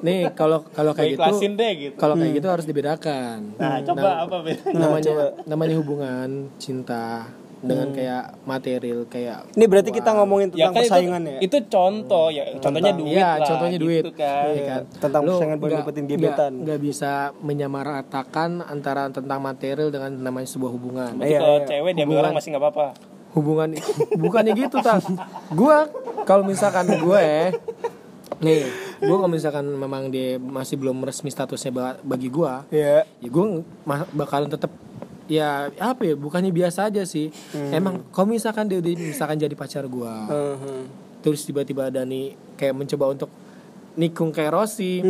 A: nih kalau kalau kayak
B: kayak
A: gitu
B: ikhlasin deh gitu
A: kalau kayak gitu harus dibedakan
B: nah
C: Hmm,
B: coba apa beda (laughs)
A: namanya namanya hubungan cinta dengan kayak material kayak
C: Ini berarti kita ngomongin tentang
B: kan itu-
C: persaingan ya.
B: itu, contoh ya contohnya duit
A: Iya,
B: lah
A: contohnya
B: gitu
A: duit.
B: kan
A: Iya kan?
C: Tentang
A: Lu
C: persaingan buat
A: nggak-
C: dapetin
A: nggak- Iya.
C: gebetan.
A: nggak bisa menyamaratakan antara tentang material dengan namanya sebuah hubungan
B: Berarti
C: Iya,
B: kalau
C: iya.
B: cewek dia bilang masih nggak apa-apa
A: hubungan bukannya gitu tas gua kalau misalkan gue nih gue kalau misalkan memang dia masih belum resmi statusnya ba- bagi gua
C: Iya.
A: ya gue bakalan tetap ya apa ya bukannya biasa aja sih
C: Hmm.
A: emang kalau misalkan dia udah misalkan jadi pacar gua
C: Heeh.
A: terus tiba-tiba Dani kayak mencoba untuk nikung kayak Rossi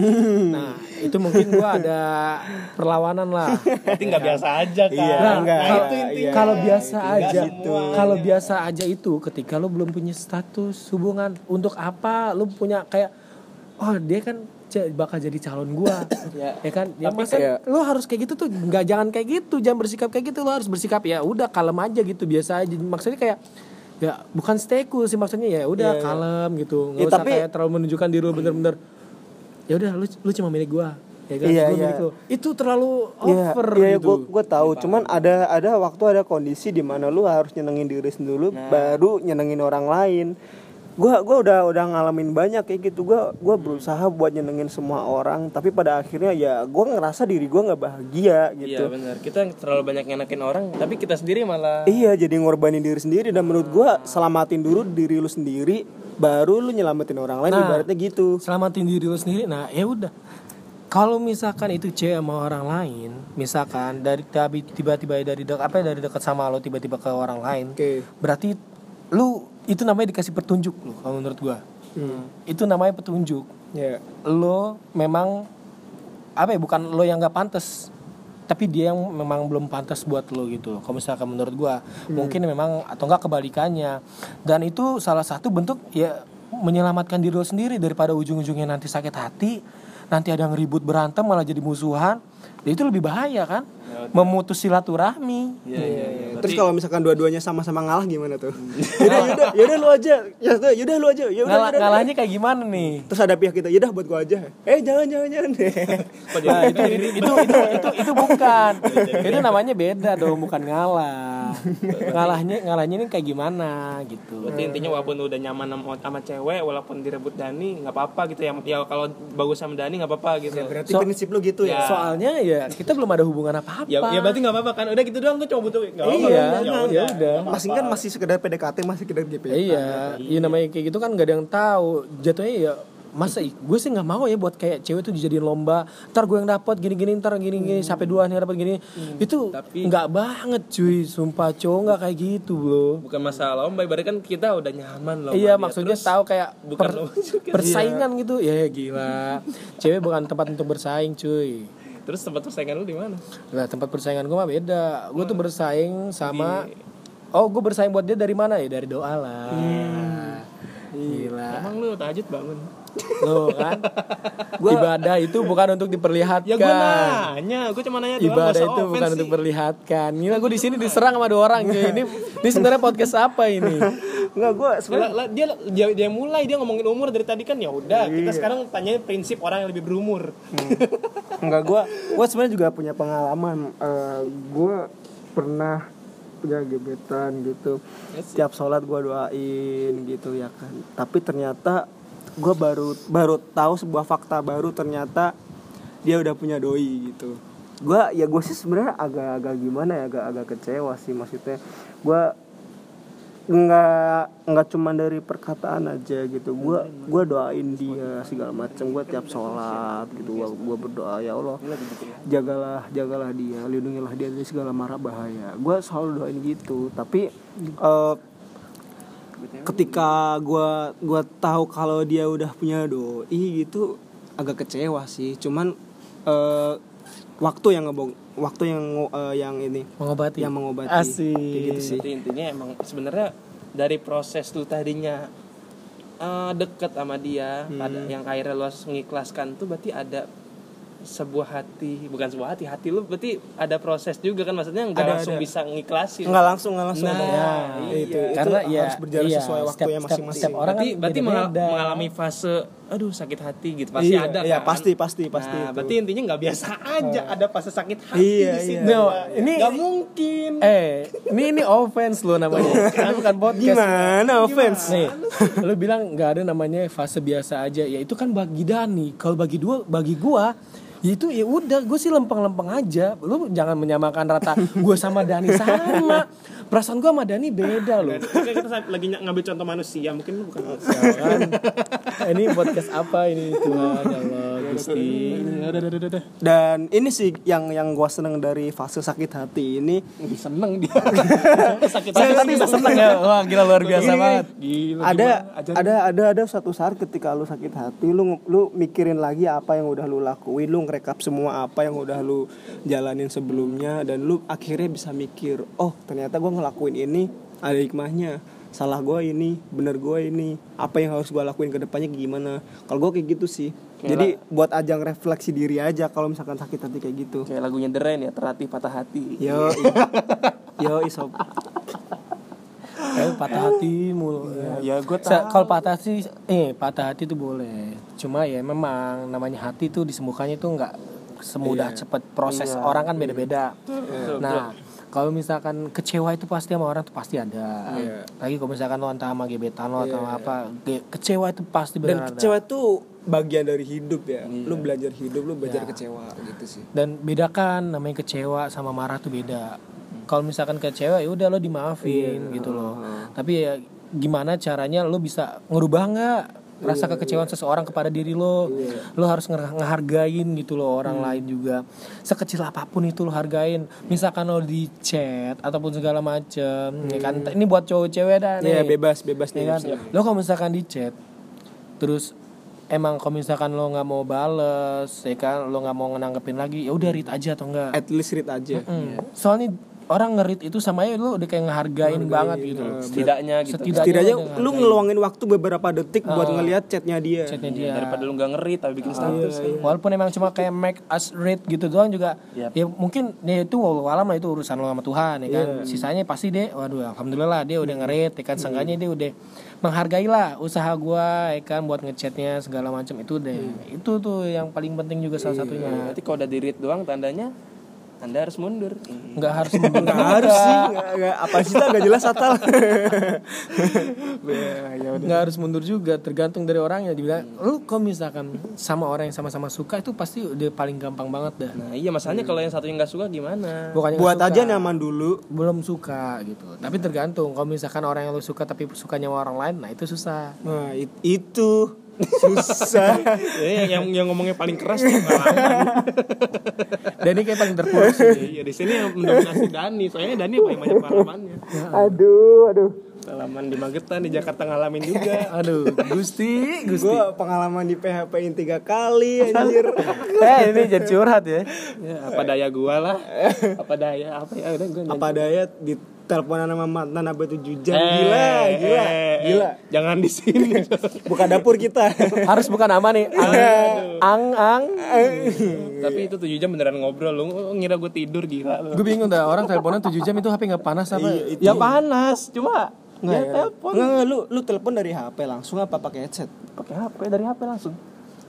A: nah itu mungkin gua ada perlawanan lah
B: berarti nggak biasa aja kan
C: Iya,
A: Nah,
C: enggak.
A: kalau-
C: itu intinya. gitu.
A: kalau biasa
B: Enggak
A: aja
B: semuanya.
A: kalau biasa aja itu ketika lo belum punya status hubungan untuk apa lo punya kayak oh dia kan ce- bakal jadi calon
C: (coughs)
A: gua
B: Ya.
A: ya kan ya
B: Tapi
A: masa
C: kan-
A: lo harus kayak gitu tuh nggak jangan kayak gitu jangan bersikap kayak gitu lo harus bersikap ya udah kalem aja gitu biasa aja maksudnya kayak ya bukan stay cool sih maksudnya ya udah kalem gitu nggak
C: Iya, Ya,
A: usah
C: tapi-
A: kayak terlalu menunjukkan diri lo bener-bener ya udah lu lu cuma milik gua ya kan
C: Iya,
A: gua
C: iya.
A: milik lo itu terlalu
C: Iya,
A: over
C: iya,
A: gitu
C: gue gue tahu. Cuman ada ada waktu ada kondisi di mana lu harus nyenengin diri sendiri dulu, baru nyenengin orang lain. Gue gua udah udah ngalamin banyak kayak gitu. Gue gua berusaha buat nyenengin semua orang, tapi pada akhirnya ya gue ngerasa diri gue nggak bahagia
B: iya
C: gitu.
B: benar kita terlalu banyak ngenakin orang tapi kita sendiri malah
C: Iya, jadi ngorbanin diri sendiri dan menurut gue selamatin dulu diri lu sendiri, baru lu nyelamatin orang lain.
A: Nah.
C: Ibaratnya gitu.
A: selamatin diri lo sendiri nah ya udah kalau misalkan itu cewek sama orang lain misalkan dari tapi tiba-tiba dari dek, apa ya, dari dekat sama lo tiba-tiba ke orang lain
C: Oke.
A: berarti lu itu namanya dikasih petunjuk lo kalau menurut gua
C: Hmm.
A: itu namanya petunjuk
C: Iya.
A: lo memang apa ya bukan lo yang nggak pantas tapi dia yang memang belum pantas buat lo gitu kalau misalkan menurut gua
B: Hmm.
A: mungkin memang atau enggak kebalikannya dan itu salah satu bentuk ya menyelamatkan diri lo sendiri daripada ujung-ujungnya nanti sakit hati nanti ada ngeribut berantem malah jadi musuhan ya itu lebih bahaya kan memutus silaturahmi
B: Ya, iya iya iya
C: Terus kalau misalkan dua-duanya sama-sama ngalah gimana tuh? (laughs) yaudah, yaudah, yaudah lu aja. Ya, udah, yaudah lu aja. Yaudah,
A: Ngalah-
C: yaudah.
A: ngalahnya kayak gimana nih
C: Terus ada pihak kita, yaudah buat gua aja. Eh, jangan, jangan, jangan. (laughs)
A: Nah,
B: Iya,
A: itu, itu, itu, itu, itu, itu bukan. itu namanya beda dong, bukan ngalah. Ngalahnya ngalahnya ini kayak gimana gitu.
B: Berarti intinya walaupun udah nyaman sama, sama cewek, walaupun direbut Dani, nggak apa-apa gitu ya. Ya kalau bagus sama Dani nggak apa-apa gitu. Ya,
C: Berarti prinsip lu gitu ya?
A: Soalnya ya kita belum ada hubungan apa-apa.
B: ya, berarti nggak apa-apa kan. Udah gitu doang gue coba butuh. Nggak apa-apa.
A: Iya,
B: Ya
A: ya
B: udah.
A: udah.
C: Masih kan masih sekedar PDKT, masih sekedar GP.
B: Iya.
A: Iya, iya namanya kayak gitu kan gak ada yang tahu. Jatuhnya ya masa i- gue sih nggak mau ya buat kayak cewek tuh dijadiin lomba ntar gue yang dapat gini gini ntar gini gini sampai dua nih dapat gini itu
B: Hmm. Tapi-
A: nggak banget cuy sumpah cowok nggak kayak gitu bro
B: bukan masalah lomba ibarat kan kita udah nyaman loh
A: Iya
B: sama dia.
A: maksudnya
B: Terus
A: tahu kayak
B: bukan
A: per-
B: lomba juga.
A: (laughs) persaingan gitu ya ya, gila cewek bukan tempat untuk bersaing cuy
B: terus tempat persaingan lu di mana
A: nah tempat persaingan gue mah beda gue tuh bersaing sama oh gue bersaing buat dia dari mana ya dari doa lah gila
B: emang lu tahajud bangun
A: lo kan ibadah itu bukan untuk diperlihatkan
B: ya gue nanya gue cuma nanya doang
A: ibadah
B: masa
A: itu
B: offense
A: bukan
B: sih?
A: untuk perlihatkan gila gue di sini diserang sama dua orang cuy. ini ini sebenarnya podcast apa ini
C: Enggak gue sebenarnya
B: Lah, lah, dia, dia dia mulai dia ngomongin umur dari tadi kan ya
A: Iya.
B: udah kita sekarang tanyain prinsip orang yang lebih berumur
C: Enggak gue Gue sebenarnya juga punya pengalaman Gue pernah punya gebetan gitu Tiap sholat gue doain gitu ya kan Tapi ternyata gue baru baru tahu sebuah fakta baru ternyata dia udah punya doi gitu gue ya gue sih sebenarnya agak-agak gimana ya agak-agak kecewa sih maksudnya gue nggak nggak cuma dari perkataan aja gitu gua gua doain dia segala macam gua tiap sholat gitu gua gua berdoa ya Allah jagalah jagalah dia lindungilah dia dari segala mara bahaya gua selalu doain gitu tapi eh, ketika gua gua tahu kalau dia udah punya doi gitu agak kecewa sih cuman eh, waktu yang ngebong waktu yang ngo- eh, yang ini
A: mengobati
C: yang mengobati
A: Asik.
C: Kayak gitu sih
B: Tapi Iya, intinya emang sebenarnya dari proses lu tadinya eh, deket sama dia
C: Hmm.
B: ada- yang akhirnya lu harus mengikhlaskan tuh berarti ada sebuah hati bukan sebuah hati hati lu berarti ada proses juga kan maksudnya nggak
C: Ada,
B: langsung
C: ada.
B: bisa ngiklasin
C: nggak langsung nggak langsung
B: Nah, iya.
A: Karena ya,
C: harus berjalan
A: iya,
C: sesuai
A: setiap-
C: waktunya
A: setiap-
C: masing-masing
A: setiap orang
B: berarti
A: kan
B: berarti
A: beda-beda.
B: mengal- mengalami fase aduh sakit hati gitu pasti
C: Iya,
B: ada
C: iya,
B: kan?
C: pasti, pasti, pasti
B: nah,
C: itu. Oh.
B: berarti intinya nggak biasa aja ada fase sakit hati
C: Iya,
B: di
C: iya.
B: situ
A: No, ini-
B: nggak mungkin
A: Eh, ini ini offense lo namanya. Ini bukan podcast.
C: gimana offense
A: Nih, lo bilang nggak ada namanya fase biasa aja. Ya itu kan bagi Dani. Kalau bagi dua, bagi gua, ya itu ya udah gue sih lempeng-lempeng aja lu jangan menyamakan rata gue sama Dani sama perasaan gue sama Dani beda loh
B: Oke, kita sa- lagi ny- ngambil contoh manusia mungkin lu bukan manusia
A: kan ini podcast apa ini Tuhan ya Allah Gusti
C: dan ini sih yang yang gua seneng dari fase sakit hati ini
B: seneng dia sakit
A: Saya tadi seneng ya wah gila luar biasa
C: Gini,
A: banget
C: ada ada ada ada suatu saat ketika lu sakit hati lu lu mikirin lagi apa yang udah lu lakuin lu ngerekap semua apa yang udah lu jalanin sebelumnya dan lu akhirnya bisa mikir oh ternyata gua ngelakuin ini ada hikmahnya salah gua ini bener gua ini apa yang harus gua lakuin ke depannya gimana kalau gua kayak gitu sih jadi buat ajang refleksi diri aja kalau misalkan sakit hati kayak gitu
B: kayak lagunya The Rain ya terhati patah hati
C: yo yo isob
A: Kayak Eh, patah hati mulu. Ya, gue Kalau patah hati, eh patah hati itu boleh. Cuma ya memang namanya hati tuh disembuhkannya tuh nggak semudah
C: Iya.
A: cepet proses orang kan beda-beda. Nah, kalau misalkan kecewa itu pasti sama orang tuh pasti ada.
C: Iya.
A: Lagi kalau misalkan lo entah sama gebetan lo atau apa, ge- kecewa itu pasti
C: dan
A: benar ada.
C: kecewa tuh bagian dari hidup ya
B: Iya.
C: lu belajar hidup lu belajar kecewa gitu sih
A: Dan bedakan namanya kecewa sama marah tuh beda. Kalau misalkan kecewa ya udah lo dimaafin
C: Iya,
A: gitu loh. Tapi ya gimana caranya lo bisa ngerubah nggak rasa
C: Iya,
A: kekecewaan seseorang kepada diri lo? Lo harus nge- ngehargain gitu loh
C: Hmm.
A: orang lain juga. Sekecil apapun itu lo hargain. Misalkan lo di chat ataupun segala macem, ya kan? Ini buat cowok cewek dah
C: Hmm. Iya
A: nih.
C: bebas bebas
A: Ya
C: nih.
A: kan? Lo kalau misalkan di chat terus emang kalau misalkan lo nggak mau bales ya kan lo nggak mau nanggepin lagi ya udah read aja atau enggak
C: At least read aja.
A: Hmm. Soalnya orang ngerit itu sama aja lu udah kayak ngehargain banget gitu. loh.
B: setidaknya gitu
A: Setidaknya,
C: Setidaknya
A: lu udah
C: lu ngeluangin waktu beberapa detik buat ngelihat chatnya dia.
A: chatnya dia.
B: Iya, daripada lu nggak ngeri tapi bikin
A: Iya,
B: status
A: Walaupun emang cuma kayak make us read gitu doang juga
B: Yap.
A: ya mungkin ya itu walau alam lah itu urusan lo sama Tuhan ya kan. Sisanya pasti deh waduh alhamdulillah lah dia udah ngerit ya kan seenggaknya dia udah menghargai lah usaha gua ya kan buat ngechatnya segala macam itu deh. Itu tuh yang paling penting juga salah satunya.
B: Iya, berarti kalau udah di read doang tandanya anda harus mundur
A: nggak (laughs) harus mundur
C: Nggak harus sih, nggak- nggak- apa sih lah gak jelas atal.
A: nggak harus mundur juga tergantung dari orangnya dibilang lu kalau misalkan sama orang yang sama-sama suka itu pasti udah paling gampang banget dah
B: nah iya masalahnya kalau yang satunya nggak suka gimana
A: bukannya
C: buat
A: nggak
C: aja
A: suka,
C: nyaman dulu.
A: belum suka gitu tapi tergantung kalau misalkan orang yang lu suka tapi sukanya sama orang lain nah itu susah
C: Nah, it- itu susah
B: ya, yang, yang yang ngomongnya paling keras pengalaman.
A: Dan ini kayak paling terpuruk (laughs) sih.
B: Iya di sini yang mendominasi Dani. Soalnya Dani yang paling banyak pengalamannya.
C: aduh aduh
B: Pengalaman di Magetan di Jakarta ngalamin juga.
A: Aduh, Gusti, Gusti.
C: gue pengalaman di PHP in tiga kali anjir
A: Eh, ini jadi curhat ya.
B: Ya, apa daya gua lah. Apa daya apa ya udah gua nanya.
C: apa daya di teleponan sama mantan apa 7 jam
B: Eh,
C: gila gila
B: eh, eh,
C: gila
B: Jangan di sini.
C: buka dapur kita
A: Harus bukan nama nih. Ang, ang, ang.
B: Tapi itu 7 jam beneran ngobrol lu lu ngira gue tidur gila lu.
A: Gue bingung dah orang teleponan 7 jam itu HP nggak panas apa?
B: Ya panas, cuma
C: Nggak,
A: Iya,
B: ya
C: ya.
B: telepon
C: Nggak, nggak, lu lu telepon dari HP langsung apa pakai headset
B: pakai HP dari HP langsung.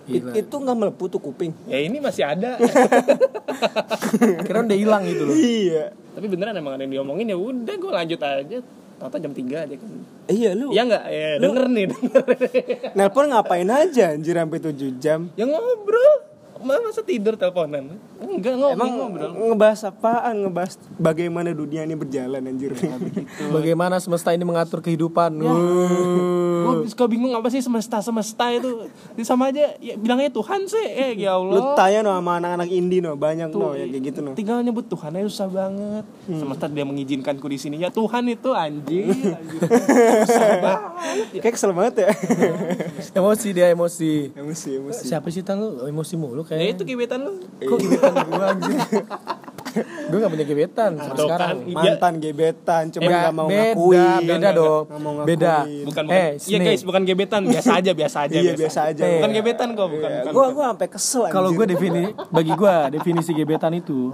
C: It- itu nggak melepuh tuh kuping
B: Ya ini masih ada. (laughs)
A: Kira udah hilang gitu loh.
C: iya
B: Tapi beneran emang ada yang diomongin ya udah gue lanjut aja. Tata jam 3 aja kan.
C: iya lu
B: Ya enggak, ya denger nih, denger. (laughs)
C: nelpon ngapain aja anjir sampai 7 jam
B: Ya ngobrol. Ma- Masa tidur teleponan? Enggak ngobrol.
C: Emang
B: ngobrol.
C: ngebahas apaan? Ngebahas bagaimana dunia ini berjalan anjir.
A: Ya Bagaimana semesta ini mengatur kehidupan?
B: Gue suka bingung apa sih semesta-semesta itu Ini sama aja, ya bilangnya Tuhan sih Eh ya
C: (laughs) Lu
B: Allah
C: tanya no sama anak-anak indie no, banyak no ya kayak gitu no.
B: Tinggal nyebut Tuhan aja susah banget Semesta dia mengizinkanku di sini Ya Tuhan itu anjing, (laughs) anjing. Susah banget
A: iya.
B: ya.
C: Kayak kesel
A: (laughs)
C: banget ya.
A: Emosi dia emosi.
C: emosi, emosi.
A: Siapa sih tan lu? Emosi mulu
B: Ya
A: kayak.
B: itu gebetan lu
A: Kok gebetan gua anjir? Gua gak punya gebetan sampai
B: Atau
A: sekarang.
B: kan, iya.
C: Mantan gebetan, cuma
A: Nggak,
C: nggak mau
A: Ya. beda,
C: ngakui.
A: Beda
B: Nggak,
A: dong.
C: nggak mau ngakuin.
A: Beda.
B: Bukan, bukan.
A: Eh,
B: Iya
A: Snake,
B: guys, bukan gebetan, biasa aja, biasa aja.
C: Iya biasa aja. Iya.
B: Bukan gebetan kok, bukan. bukan,
C: Gue
B: bukan.
C: gue sampai kesel anjir.
A: Kalau gue defini, bagi gue definisi gebetan itu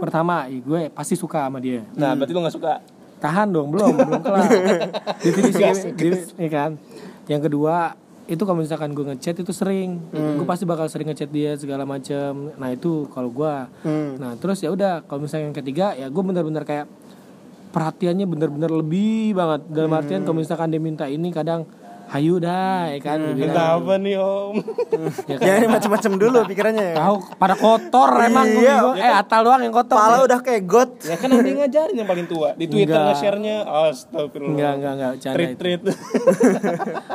A: pertama, ih, gue pasti suka sama dia.
B: Nah, berarti lu gak suka.
A: Tahan dong, belum, belum kelar. definisi gebetan, kan. Yang kedua, itu kalau misalkan gue ngechat itu sering, gue pasti bakal sering ngechat dia segala macam. Nah itu kalau gue.
C: Hmm.
A: Nah terus ya udah, kalau misalnya yang ketiga, ya gue bener-bener kayak perhatiannya bener-bener lebih banget. Dalam artian
C: Hmm.
A: kalau misalkan dia minta ini kadang hayu dah, ya kan. Dia bilang,
B: Entah apa nih, Om.
A: ya kan?
C: Jangan macem-macem dulu pikirannya ya.
A: Tahu pada kotor emang
C: Iya.
A: gua. Eh atal doang yang kotor.
C: Kepala udah kayak got.
B: (laughs) Ya kan nanti ngajarin yang paling tua. Di Twitter
A: Enggak.
B: nge-share-nya, astagfirullah.
A: Enggak enggak enggak canda itu.
B: Treat-treat.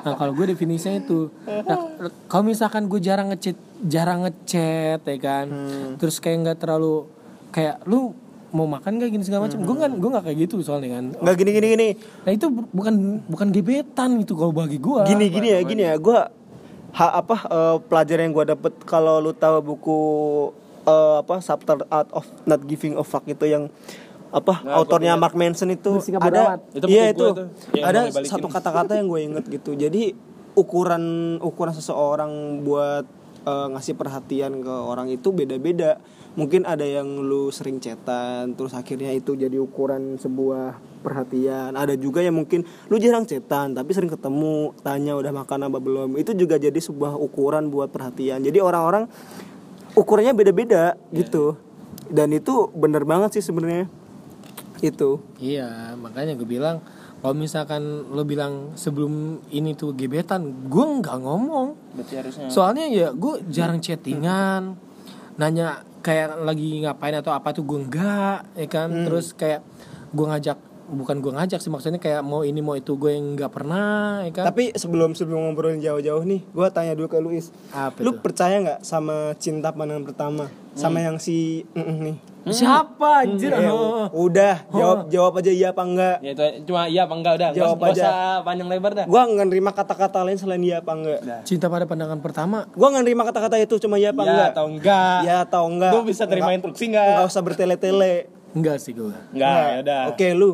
A: Nah, kalau gue definisinya itu. Nah, kalau misalkan gue jarang ngechat, jarang ngechat ya kan.
C: Hmm.
A: Terus kayak nggak terlalu kayak lu mau makan gak gini segala macam.
C: Hmm.
A: Gue kan gue nggak kayak gitu soalnya kan.
C: Nggak gini-gini gini.
A: Nah itu bu- bukan bukan gebetan gitu kalau bagi
B: Ah,
A: gue.
C: Gini-gini ya, gini ya. Gue apa eh, pelajaran yang gue dapet kalau lu tahu buku eh, apa Subtle Art of Not Giving a Fuck itu yang apa
B: Nah,
C: autornya Mark Manson itu
A: Bersikap
C: ada
A: bodoh
B: amat. Itu
C: iya
B: buku gua
C: itu
B: tuh, yang
C: ada
B: mau dibalikin.
C: satu kata-kata yang gue inget gitu jadi ukuran ukuran seseorang buat eh, ngasih perhatian ke orang itu beda-beda mungkin ada yang lu sering cetan terus akhirnya itu jadi ukuran sebuah perhatian ada juga yang mungkin lu jarang cetan tapi sering ketemu tanya udah makan apa belum itu juga jadi sebuah ukuran buat perhatian jadi orang-orang ukurannya beda-beda gitu dan itu bener banget sih sebenarnya itu
A: Iya, makanya gue bilang kalau misalkan lo bilang sebelum ini tuh gebetan, gue nggak ngomong.
B: Berarti harusnya.
A: Soalnya ya gue jarang chattingan, nanya kayak lagi ngapain atau apa tuh gue enggak, ya kan. Terus kayak gue ngajak, bukan gue ngajak sih maksudnya kayak mau ini mau itu gue yang nggak pernah, ya kan.
C: Tapi sebelum sebelum ngobrolin jauh-jauh nih, gua tanya dulu ke Luis.
A: Apa
C: lu
A: tuh?
C: percaya nggak sama cinta pandangan pertama? Sama
B: Hmm.
C: yang si Mm-mm nih.
A: Siapa anjir?
C: Eh,
A: Oh.
C: udah, jawab jawab aja iya apa enggak.
B: (laughs) Ya itu aja. cuma iya apa enggak udah.
C: Jawab
B: Nggak- nggak
C: aja. Iya
B: usah panjang lebar dah.
C: Gua nggak nerima kata-kata lain selain iya apa enggak.
A: Cinta pada pandangan pertama.
C: Gua nggak nerima kata-kata itu cuma iya apa
B: Ya
C: enggak.
B: atau enggak.
C: Iya atau enggak.
B: Lu bisa terima
C: Nggak-
B: instruksi
C: Nggak
B: enggak?
C: usah bertele-tele.
A: Enggak sih gue.
B: Enggak, ya udah. Iya.
C: Oke, lu.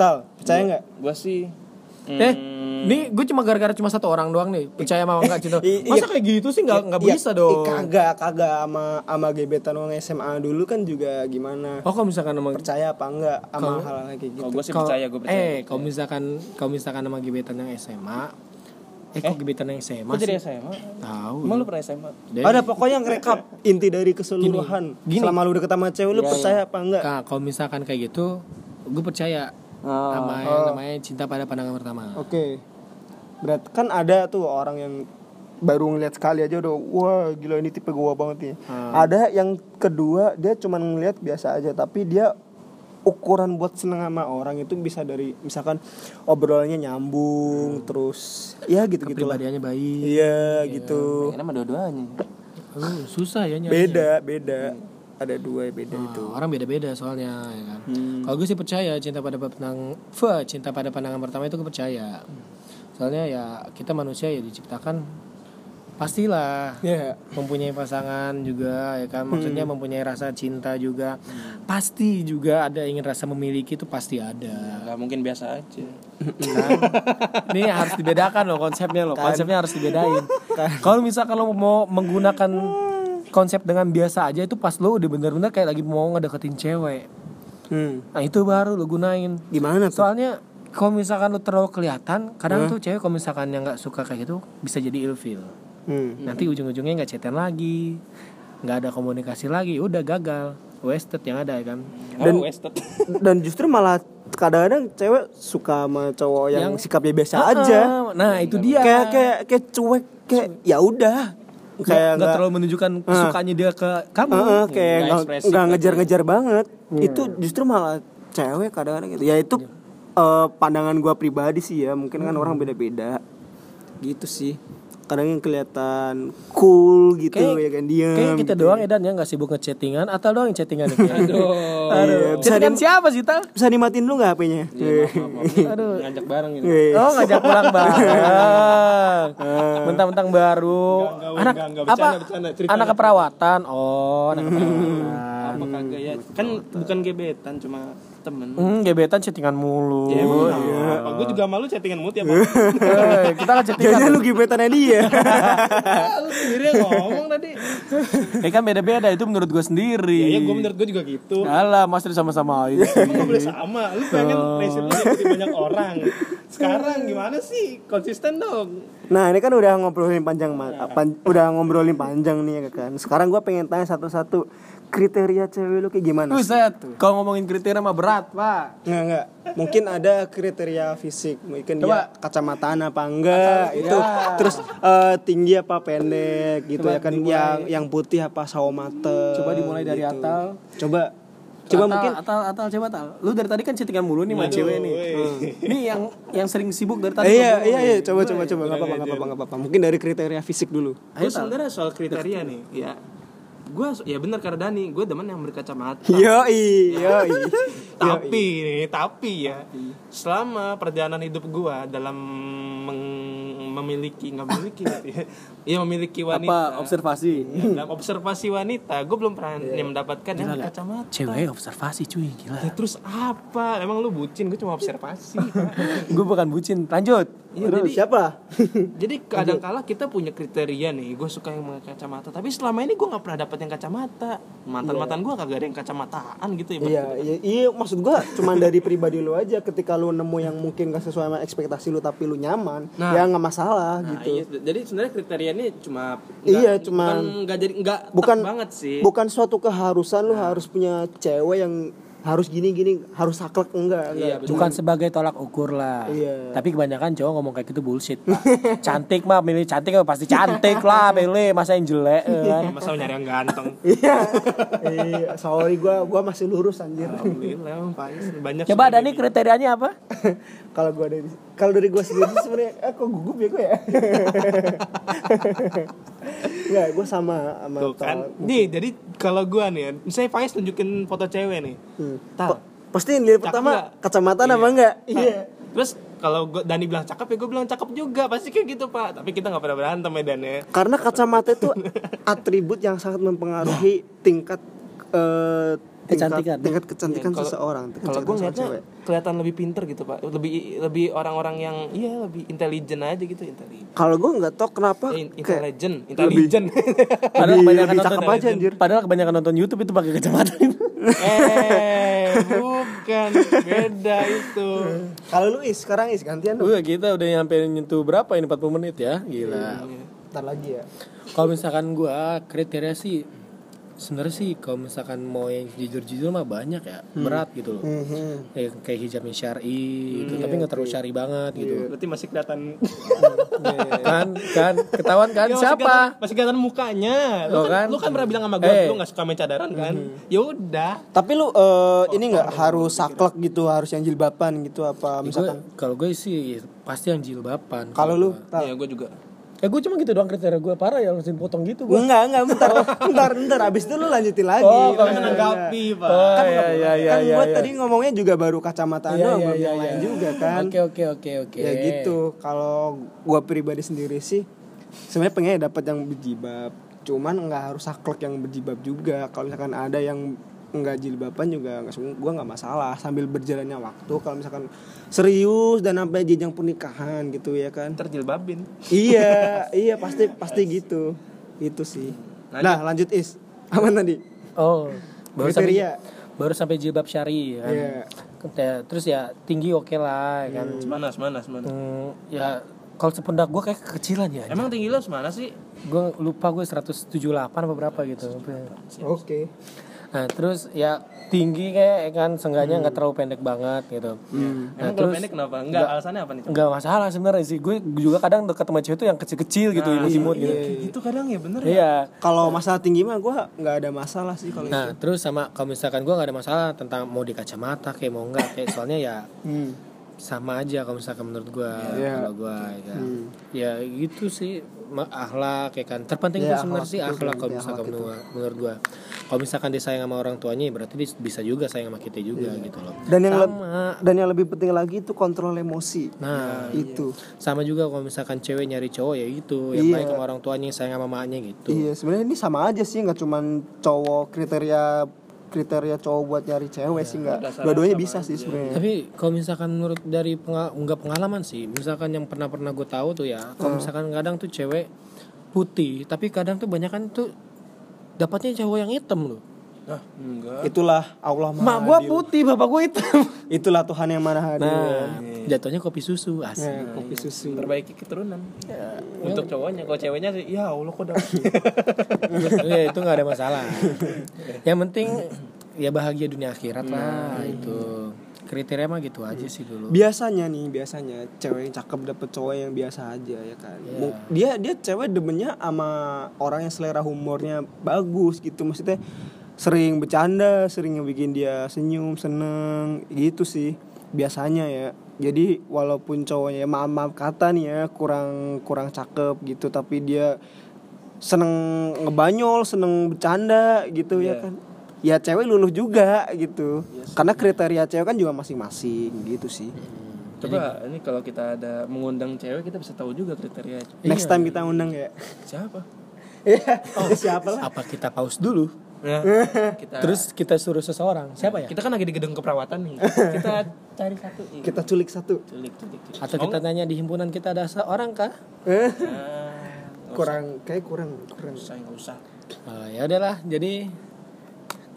C: Tal, percaya nggak?
B: Gua sih
A: Eh, nih gue cuma gara-gara cuma satu orang doang nih. Percaya sama enggak cinta.
C: I- iya.
A: Masa kayak gitu sih enggak enggak
C: Iya,
A: bisa
C: iya,
A: dong.
C: Kagak, kagak sama sama gebetan orang SMA dulu kan juga gimana?
A: Oh kalau misalkan sama
C: Percaya apa enggak sama hal-hal kayak gitu?
B: Kalau gue sih
A: Kalau-
B: percaya, gue percaya.
A: Eh, kalau misalkan kalau misalkan sama gebetan yang SMA, eh, kok gebetan yang SMA
B: Kok
A: sih?
B: jadi SMA?
A: Tahu.
B: Emang lu pernah SMA?
A: Deh.
C: Ada pokoknya ngerekap inti dari keseluruhan.
A: Ya, Gini, Ya, gini.
C: Selama lu deket sama cewek lu percaya apa enggak?
A: Kak, kalau misalkan kayak gitu, gue percaya sama yang namanya cinta pada pandangan pertama.
C: Oke. Berarti kan ada tuh orang yang baru ngeliat sekali aja udah wah gila ini
A: Hmm.
C: tipe gua banget nih. Ada yang kedua dia cuman ngeliat biasa aja tapi dia ukuran buat seneng sama orang itu bisa dari misalkan obrolannya nyambung
A: Hmm.
C: terus ya gitu gitu lah
A: Kepribadiannya baik.
C: iya gitu
B: Pengennya sama dua-duanya.
A: Aduh, susah ya nyari.
C: beda beda ada dua yang beda itu
A: Gitu. Orang beda-beda soalnya ya kan. Kalau gue sih percaya cinta pada pandang Fe, cinta pada pandangan pertama itu kepercaya. Soalnya ya kita manusia ya diciptakan pastilah
C: ya
A: mempunyai pasangan juga ya kan maksudnya mempunyai rasa cinta juga pasti juga ada ingin rasa memiliki itu pasti ada
B: Gak mungkin biasa aja.
A: kan? ini harus dibedakan loh konsepnya loh konsepnya harus dibedain kalau misalkan lo mau menggunakan konsep dengan biasa aja itu pas lo udah bener-bener kayak lagi mau ngedeketin cewek
C: hmm.
A: nah itu baru lo gunain
C: gimana tuh
A: soalnya kalau misalkan lo terlalu kelihatan kadang tuh cewek kalau misalkan yang nggak suka kayak gitu bisa jadi ilfeel
C: hmm.
A: nanti ujung-ujungnya nggak chatan lagi nggak ada komunikasi lagi udah gagal wasted yang ada ya kan
B: Dan wasted.
C: dan justru malah kadang-kadang cewek suka sama cowok yang,
A: Yang-
C: sikapnya biasa
A: Ah,
C: aja Iya,
A: nah itu dia
C: kayak kayak kayak cuek kayak ya udah
A: nggak
C: kayak nggak
A: terlalu menunjukkan kesukaannya dia ke kamu Iya.
C: Heeh, kayak
B: nggak
C: nggak-
B: ekspresif
C: nggak ngejar-ngejar banget itu justru malah cewek kadang-kadang gitu ya itu
A: Iya.
C: eh, pandangan gua pribadi sih ya mungkin kan
A: Hmm.
C: orang beda-beda gitu sih kadang yang kelihatan cool gitu
A: Kayak-
C: ya kan dia
A: Kayaknya kita doang Edan ya nggak sibuk ngechattingan atau doang yang
C: (laughs)
A: chattingan ya, kayaknya.
B: Aduh.
C: Iya,
A: Aduh, chattingan siapa sih tal?
C: bisa dimatiin dulu nggak HP-nya
B: Iya, maaf, maaf, maaf. Ngajak bareng gitu.
C: Eh,
A: Oh ngajak pulang bareng Mentang-mentang baru Anak apa? Anak keperawatan Oh anak keperawatan
B: Apa kagak ya? Kan bukan gebetan cuma temen.
A: Hmm, gebetan chattingan mulu
C: Iya,
B: Ya emang
A: Oh.
B: kenapa? Gue juga malu chattingan mut ya Bang.
A: (laughs) Eh, Kita kan chattingan
C: (laughs) jangan lu gebetannya dia
A: (laughs)
B: Ah, Lu sendiri yang ngomong tadi.
A: Ya kan beda-beda itu menurut gue sendiri
B: Ya, ya
C: Iya,
B: gue menurut gue juga gitu.
A: Alah mas Tri sama-sama aja sih.
B: Gak boleh sama, lu pengen
A: Oh.
B: pressure jadi banyak orang Sekarang gimana sih? Konsisten dong
C: Nah ini kan udah ngobrolin panjang Mas. Pan- udah ngobrolin panjang nih ya kan. Sekarang gua pengen tanya satu-satu kriteria cewek lu kayak gimana? sih?
A: Buset, kalau ngomongin kriteria mah berat pak
C: Nggak nggak. Mungkin ada kriteria fisik, mungkin dia kacamataan apa enggak itu. Terus eh, tinggi apa pendek gitu ya kan. Yang yang putih apa sawo mata.
A: Coba dimulai dari
C: gitu.
A: Atal.
C: Coba coba
A: Atal,
C: mungkin
A: Atal, Atal, coba Atal Lu dari tadi kan chattingan mulu nih sama cewek nih Hmm. Nih yang yang sering sibuk dari tadi
C: iya iya iya coba coba coba nggak apa-apa nggak apa-apa nggak apa-apa mungkin dari kriteria fisik dulu
B: Gue sebenernya soal kriteria nih Ya Gue, ya bener karena Dani Gue demen yang berkacamata
C: yoi yoi Iya,
B: Tapi nih, tapi ya Selama perjalanan hidup gue Dalam meng- memiliki nggak
C: (laughs)
B: memiliki berarti ya. ya memiliki
A: Apa
B: wanita
A: observasi?
B: Ya,
C: Iya.
B: dalam observasi wanita gue belum pernah yang mendapatkan yang berkacamata
A: Cewek observasi cuy, gila
B: Ya, terus apa emang lu bucin gue cuma observasi
C: (laughs)
B: Pak. Iya,
A: Gue bukan bucin, lanjut
C: Terus siapa (laughs)
B: Jadi kadangkala kita punya kriteria nih, gue suka yang pakai kacamata. Tapi selama ini gue nggak pernah dapet yang kacamata. Mantan mantan gue kagak ada yang kacamataan gitu ya.
C: Iya, iya, iya, maksud gua cuman dari pribadi lu aja ketika lu nemu yang mungkin gak sesuai sama ekspektasi lu tapi lu nyaman, ya nggak masalah
B: Nah,
C: gitu.
B: iya. Jadi sebenarnya kriteria ini cuma
C: Iya,
B: bukan-
C: cuma-
B: nggak jadi nggak tek
C: Bukan
B: banget sih. Nah.
C: Bukan suatu keharusan lu harus punya cewek yang harus gini-gini, harus saklek enggak, enggak.
B: Iya, betul.
A: Bukan sebagai tolak ukur lah
C: Iya.
A: Tapi kebanyakan cowok ngomong kayak gitu bullshit (laughs) Pak. Cantik mah milih cantik mah pasti cantik lah milih Masa yang jelek ya kan?
B: Ya, masa lu nyari yang ganteng.
C: (laughs) Iya. Iya, sorry gua gua masih lurus anjir.
B: Alhamdulillah, emang Faiz banyak.
A: Coba
B: sebenarnya
A: Dani kriterianya apa?
C: (laughs) kalau gua dari kalau dari gua sendiri sebenarnya eh, kok gugup ya (laughs) gua ya. Enggak, gua sama sama
B: Tuh kan.
C: Tal.
B: Nih, jadi kalau gue nih, ya, misalnya Faiz tunjukin foto cewek nih.
C: Hmm.
B: Tal,
C: Pasti yang dilihat
B: Cakep
C: pertama
B: nggak?
C: kacamata
B: Iya.
C: apa enggak? Nah,
B: Pak. Terus kalau gua Dani bilang cakep ya gue bilang cakep juga pasti kayak gitu pak. Tapi kita nggak pernah berantem ya Dan ya.
C: Karena kacamata (laughs) itu atribut yang sangat mempengaruhi tingkat eh, tingkat-
A: Kecantikan.
C: tingkat kecantikan kan seseorang. tingkat
B: Kalau gue
C: kecantikan
B: ngeliatnya
C: seorang
B: kelihatan lebih pinter gitu pak. Lebih lebih orang-orang yang iya lebih intelijen aja gitu intelijen.
C: Kalau gue nggak tau kenapa
B: Eh, in-
C: kayak
B: intelijen, intelijen. (laughs)
A: Padahal
C: lebih,
A: kebanyakan
C: lebih
A: nonton
C: cakep aja anjir.
A: Padahal kebanyakan nonton YouTube itu pakai kacamata itu.
B: eh, bukan beda itu.
C: Kalau lu is sekarang is gantian
A: (laughs)
C: dong.
A: Wah, kita udah nyampe nyentuh berapa ini 40 menit ya? Gila.
C: Ntar lagi ya.
A: Kalau misalkan gua kriteria sih sebenarnya sih kalau misalkan mau yang jujur-jujur mah banyak ya berat gitu loh
C: Mm-hmm.
A: Ya, kayak hijabnya syari gitu tapi nggak terlalu syari banget gitu
B: Berarti masih kelihatan
A: kan kan ketahuan kan
B: Ya, masih
A: siapa
B: kelihatan- Masih kelihatan mukanya. Lu
A: Loh
B: kan,
A: kan?
B: lu kan pernah bilang sama gue
A: Eh.
B: lu gak suka main cadaran kan? Ya udah.
C: Tapi lu eh, ini nggak harus saklek gitu, harus yang jilbaban gitu
A: Ya,
C: apa misalkan?
A: gua- kalau gue sih pasti yang jilbaban
C: Kalau lu Tal.
B: Ya gue juga.
A: ya gue cuma gitu doang kriteria gue parah ya langsung potong gitu gue
C: Enggak, enggak, bentar, (laughs) Oh, bentar, bentar, Oh, abis itu lu lanjutin lagi
B: Kita menanggapi, Pak.
A: oh ya ya ya
C: Kan gua tadi ngomongnya juga baru kacamata
A: Iya,
C: doang, belum yang lain juga kan
A: oke oke oke oke
C: Ya gitu, kalau gua pribadi sendiri sih sebenarnya pengen dapat yang berjilbab Cuman nggak harus saklek yang berjilbab juga Kalau misalkan ada yang nggak jilbaban juga nggak semua gua nggak masalah sambil berjalannya waktu kalau misalkan serius dan sampai jenjang pernikahan gitu ya kan
B: Ntar jilbabin.
A: (laughs)
C: iya iya pasti pasti gitu itu sih nah lanjut is apa tadi
A: oh baru sampai
C: Kriteria.
A: baru sampai jilbab syari ya kan
C: Iya.
A: Ya, terus ya tinggi oke lah ya kan
B: Semana, semana, semana.
A: Hmm, ya kalau sependak gue kayak kekecilan ya
B: Emang tinggi lo semana sih?
A: gue lupa gue 178 apa berapa gitu
C: Iya, oke
A: nah terus ya tinggi kayak ya kan seenggaknya
C: Hmm.
A: nggak terlalu pendek banget gitu
B: Emang kalau pendek kenapa? Enggak, alasannya apa nih? Cok?
A: nggak masalah sebenarnya sih gue juga kadang deket sama cewek tuh yang kecil-kecil gitu
C: Ah,
A: imut-imut
C: iya,
A: gitu
B: Kayak Gitu kadang ya bener ya.
A: iya
C: kalau masalah tinggi mah gua nggak ada masalah sih kalau itu
A: nah terus sama kalau misalkan gue nggak ada masalah tentang mau di kacamata kayak mau nggak kayak soalnya ya
C: Hmm.
A: sama aja kalau misalkan menurut gue
C: Iya.
A: kalau gue ya. ya gitu sih ma- akhlak ya kan terpenting
C: Iya,
A: tuh sebenarnya
C: akhlak
A: sih
C: itu
A: akhlak
C: sih,
A: kalau
C: iya,
A: misalkan
C: akhlak itu.
A: menurut, menurut gue kalau misalkan dia sayang sama orang tuanya ya berarti dia bisa juga sayang sama kita juga
C: Iya.
A: gitu loh
C: dan yang leb-
A: sama
C: dan yang lebih penting lagi itu kontrol emosi
A: nah
C: itu
A: sama juga kalau misalkan cewek nyari cowok ya gitu yang baik sama orang tuanya yang sayang sama mamanya gitu
C: iya sebenarnya ini sama aja sih nggak cuman cowok kriteria kriteria cowok buat nyari cewek sih nggak dua-duanya bisa sih sebenarnya
A: Tapi kalau misalkan menurut dari penga- nggak pengalaman sih, misalkan yang pernah pernah gue tahu tuh ya, kalau misalkan kadang tuh cewek putih, tapi kadang tuh banyak kan tuh dapatnya cowok yang hitam loh.
B: Hah, enggak.
C: itulah Allah
A: Mak
C: maha
A: gue
C: adil.
A: putih, bapak gue hitam.
C: itulah Tuhan yang maha adil
A: Nah, jatuhnya kopi susu asli.
C: Ya,
A: (laughs)
C: kopi susu
B: Perbaiki keturunan. Untuk cowoknya, kalau ceweknya sih, ya Allah
A: (laughs)
B: kok dapet.
A: ya itu nggak ada masalah. yang penting ya bahagia dunia akhirat lah itu. Kriteria mah gitu aja sih dulu.
C: biasanya nih biasanya cewek yang cakep dapet cowok yang biasa aja ya kan Mu- dia dia cewek demennya sama orang yang selera humornya bagus gitu maksudnya sering bercanda sering bikin dia senyum seneng gitu sih biasanya ya jadi walaupun cowoknya maaf maaf kata nih ya kurang kurang cakep gitu tapi dia seneng ngebanyol seneng bercanda gitu ya kan ya cewek luluh juga gitu karena kriteria cewek kan juga masing-masing gitu sih
B: Coba ini kalau kita ada mengundang cewek, kita bisa tahu juga kriteria
C: next time kita undang ya
B: siapa.
C: Iya. siapa lah
A: Apa kita pause dulu?
B: Nah, (laughs) kita
A: Terus kita suruh seseorang. Siapa ya?
B: kita kan lagi di gedung keperawatan (laughs) nih. Kita cari satu. Iya.
C: (laughs) kita culik satu
B: Culik, culik, culik.
A: Atau kita tanya di himpunan kita ada seorang kah?
C: Eh,
B: Ah,
C: kurang kayak kurang kurang
B: nggak usah, nggak usah.
A: Ah, ya udahlah, jadi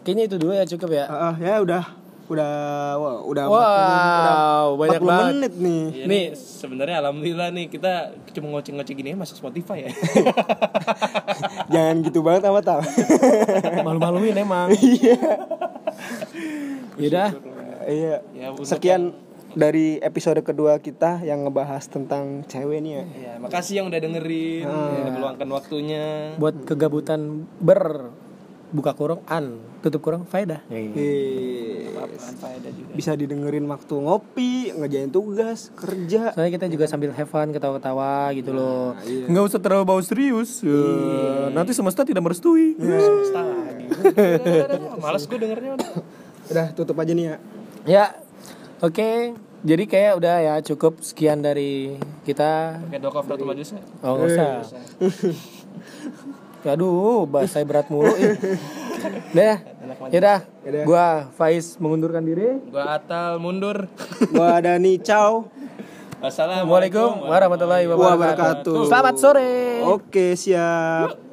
A: kayaknya itu dulu ya cukup ya.
C: Ah, ah, ya udah udah wah, udah
A: Wow,
C: 40
A: banyak banget.
C: menit nih (laughs)
B: Iya nih sebenarnya alhamdulillah nih kita cuma ngoceh-ngoceh gini aja masuk Spotify (laughs) ya.
C: jangan gitu banget apa tau
A: Malu-maluin (laughs) emang. Iya. Yaudah,
C: iya
B: Ya, untuk-
C: sekian dari episode kedua kita yang ngebahas tentang cewek nih ya
B: ya, makasih yang udah dengerin, yang udah meluangkan waktunya.
A: buat kegabutan ber buka kurung an tutup kurung faedah.
C: Iya.
B: Manfaat ada juga.
C: bisa didengerin waktu ngopi ngejain tugas kerja
A: Soalnya kita juga sambil have fun ketawa-ketawa gitu loh. Nggak usah terlalu bau serius. Ya, Nanti semesta tidak merestui.
B: Semesta (laughs) lagi. Udah, udah, udah. Males gue dengernya udah.
C: udah tutup aja nih ya
A: Ya, oke. Jadi kayak udah ya cukup sekian dari kita.
B: Pakai doa kafaratul majusnya.
A: Oh nggak usah. (laughs) Aduh, bahasa berat mulu. ih. Udah, yaudah.
C: Yaudah.
A: Gua Faiz mengundurkan diri.
B: Gua atal (laughs) mundur.
C: gua Dani ciao
B: Wassalamualaikum.
A: Assalamualaikum warahmatullahi wabarakatuh.
C: wabarakatuh.
A: Selamat sore.
C: Oke, siap.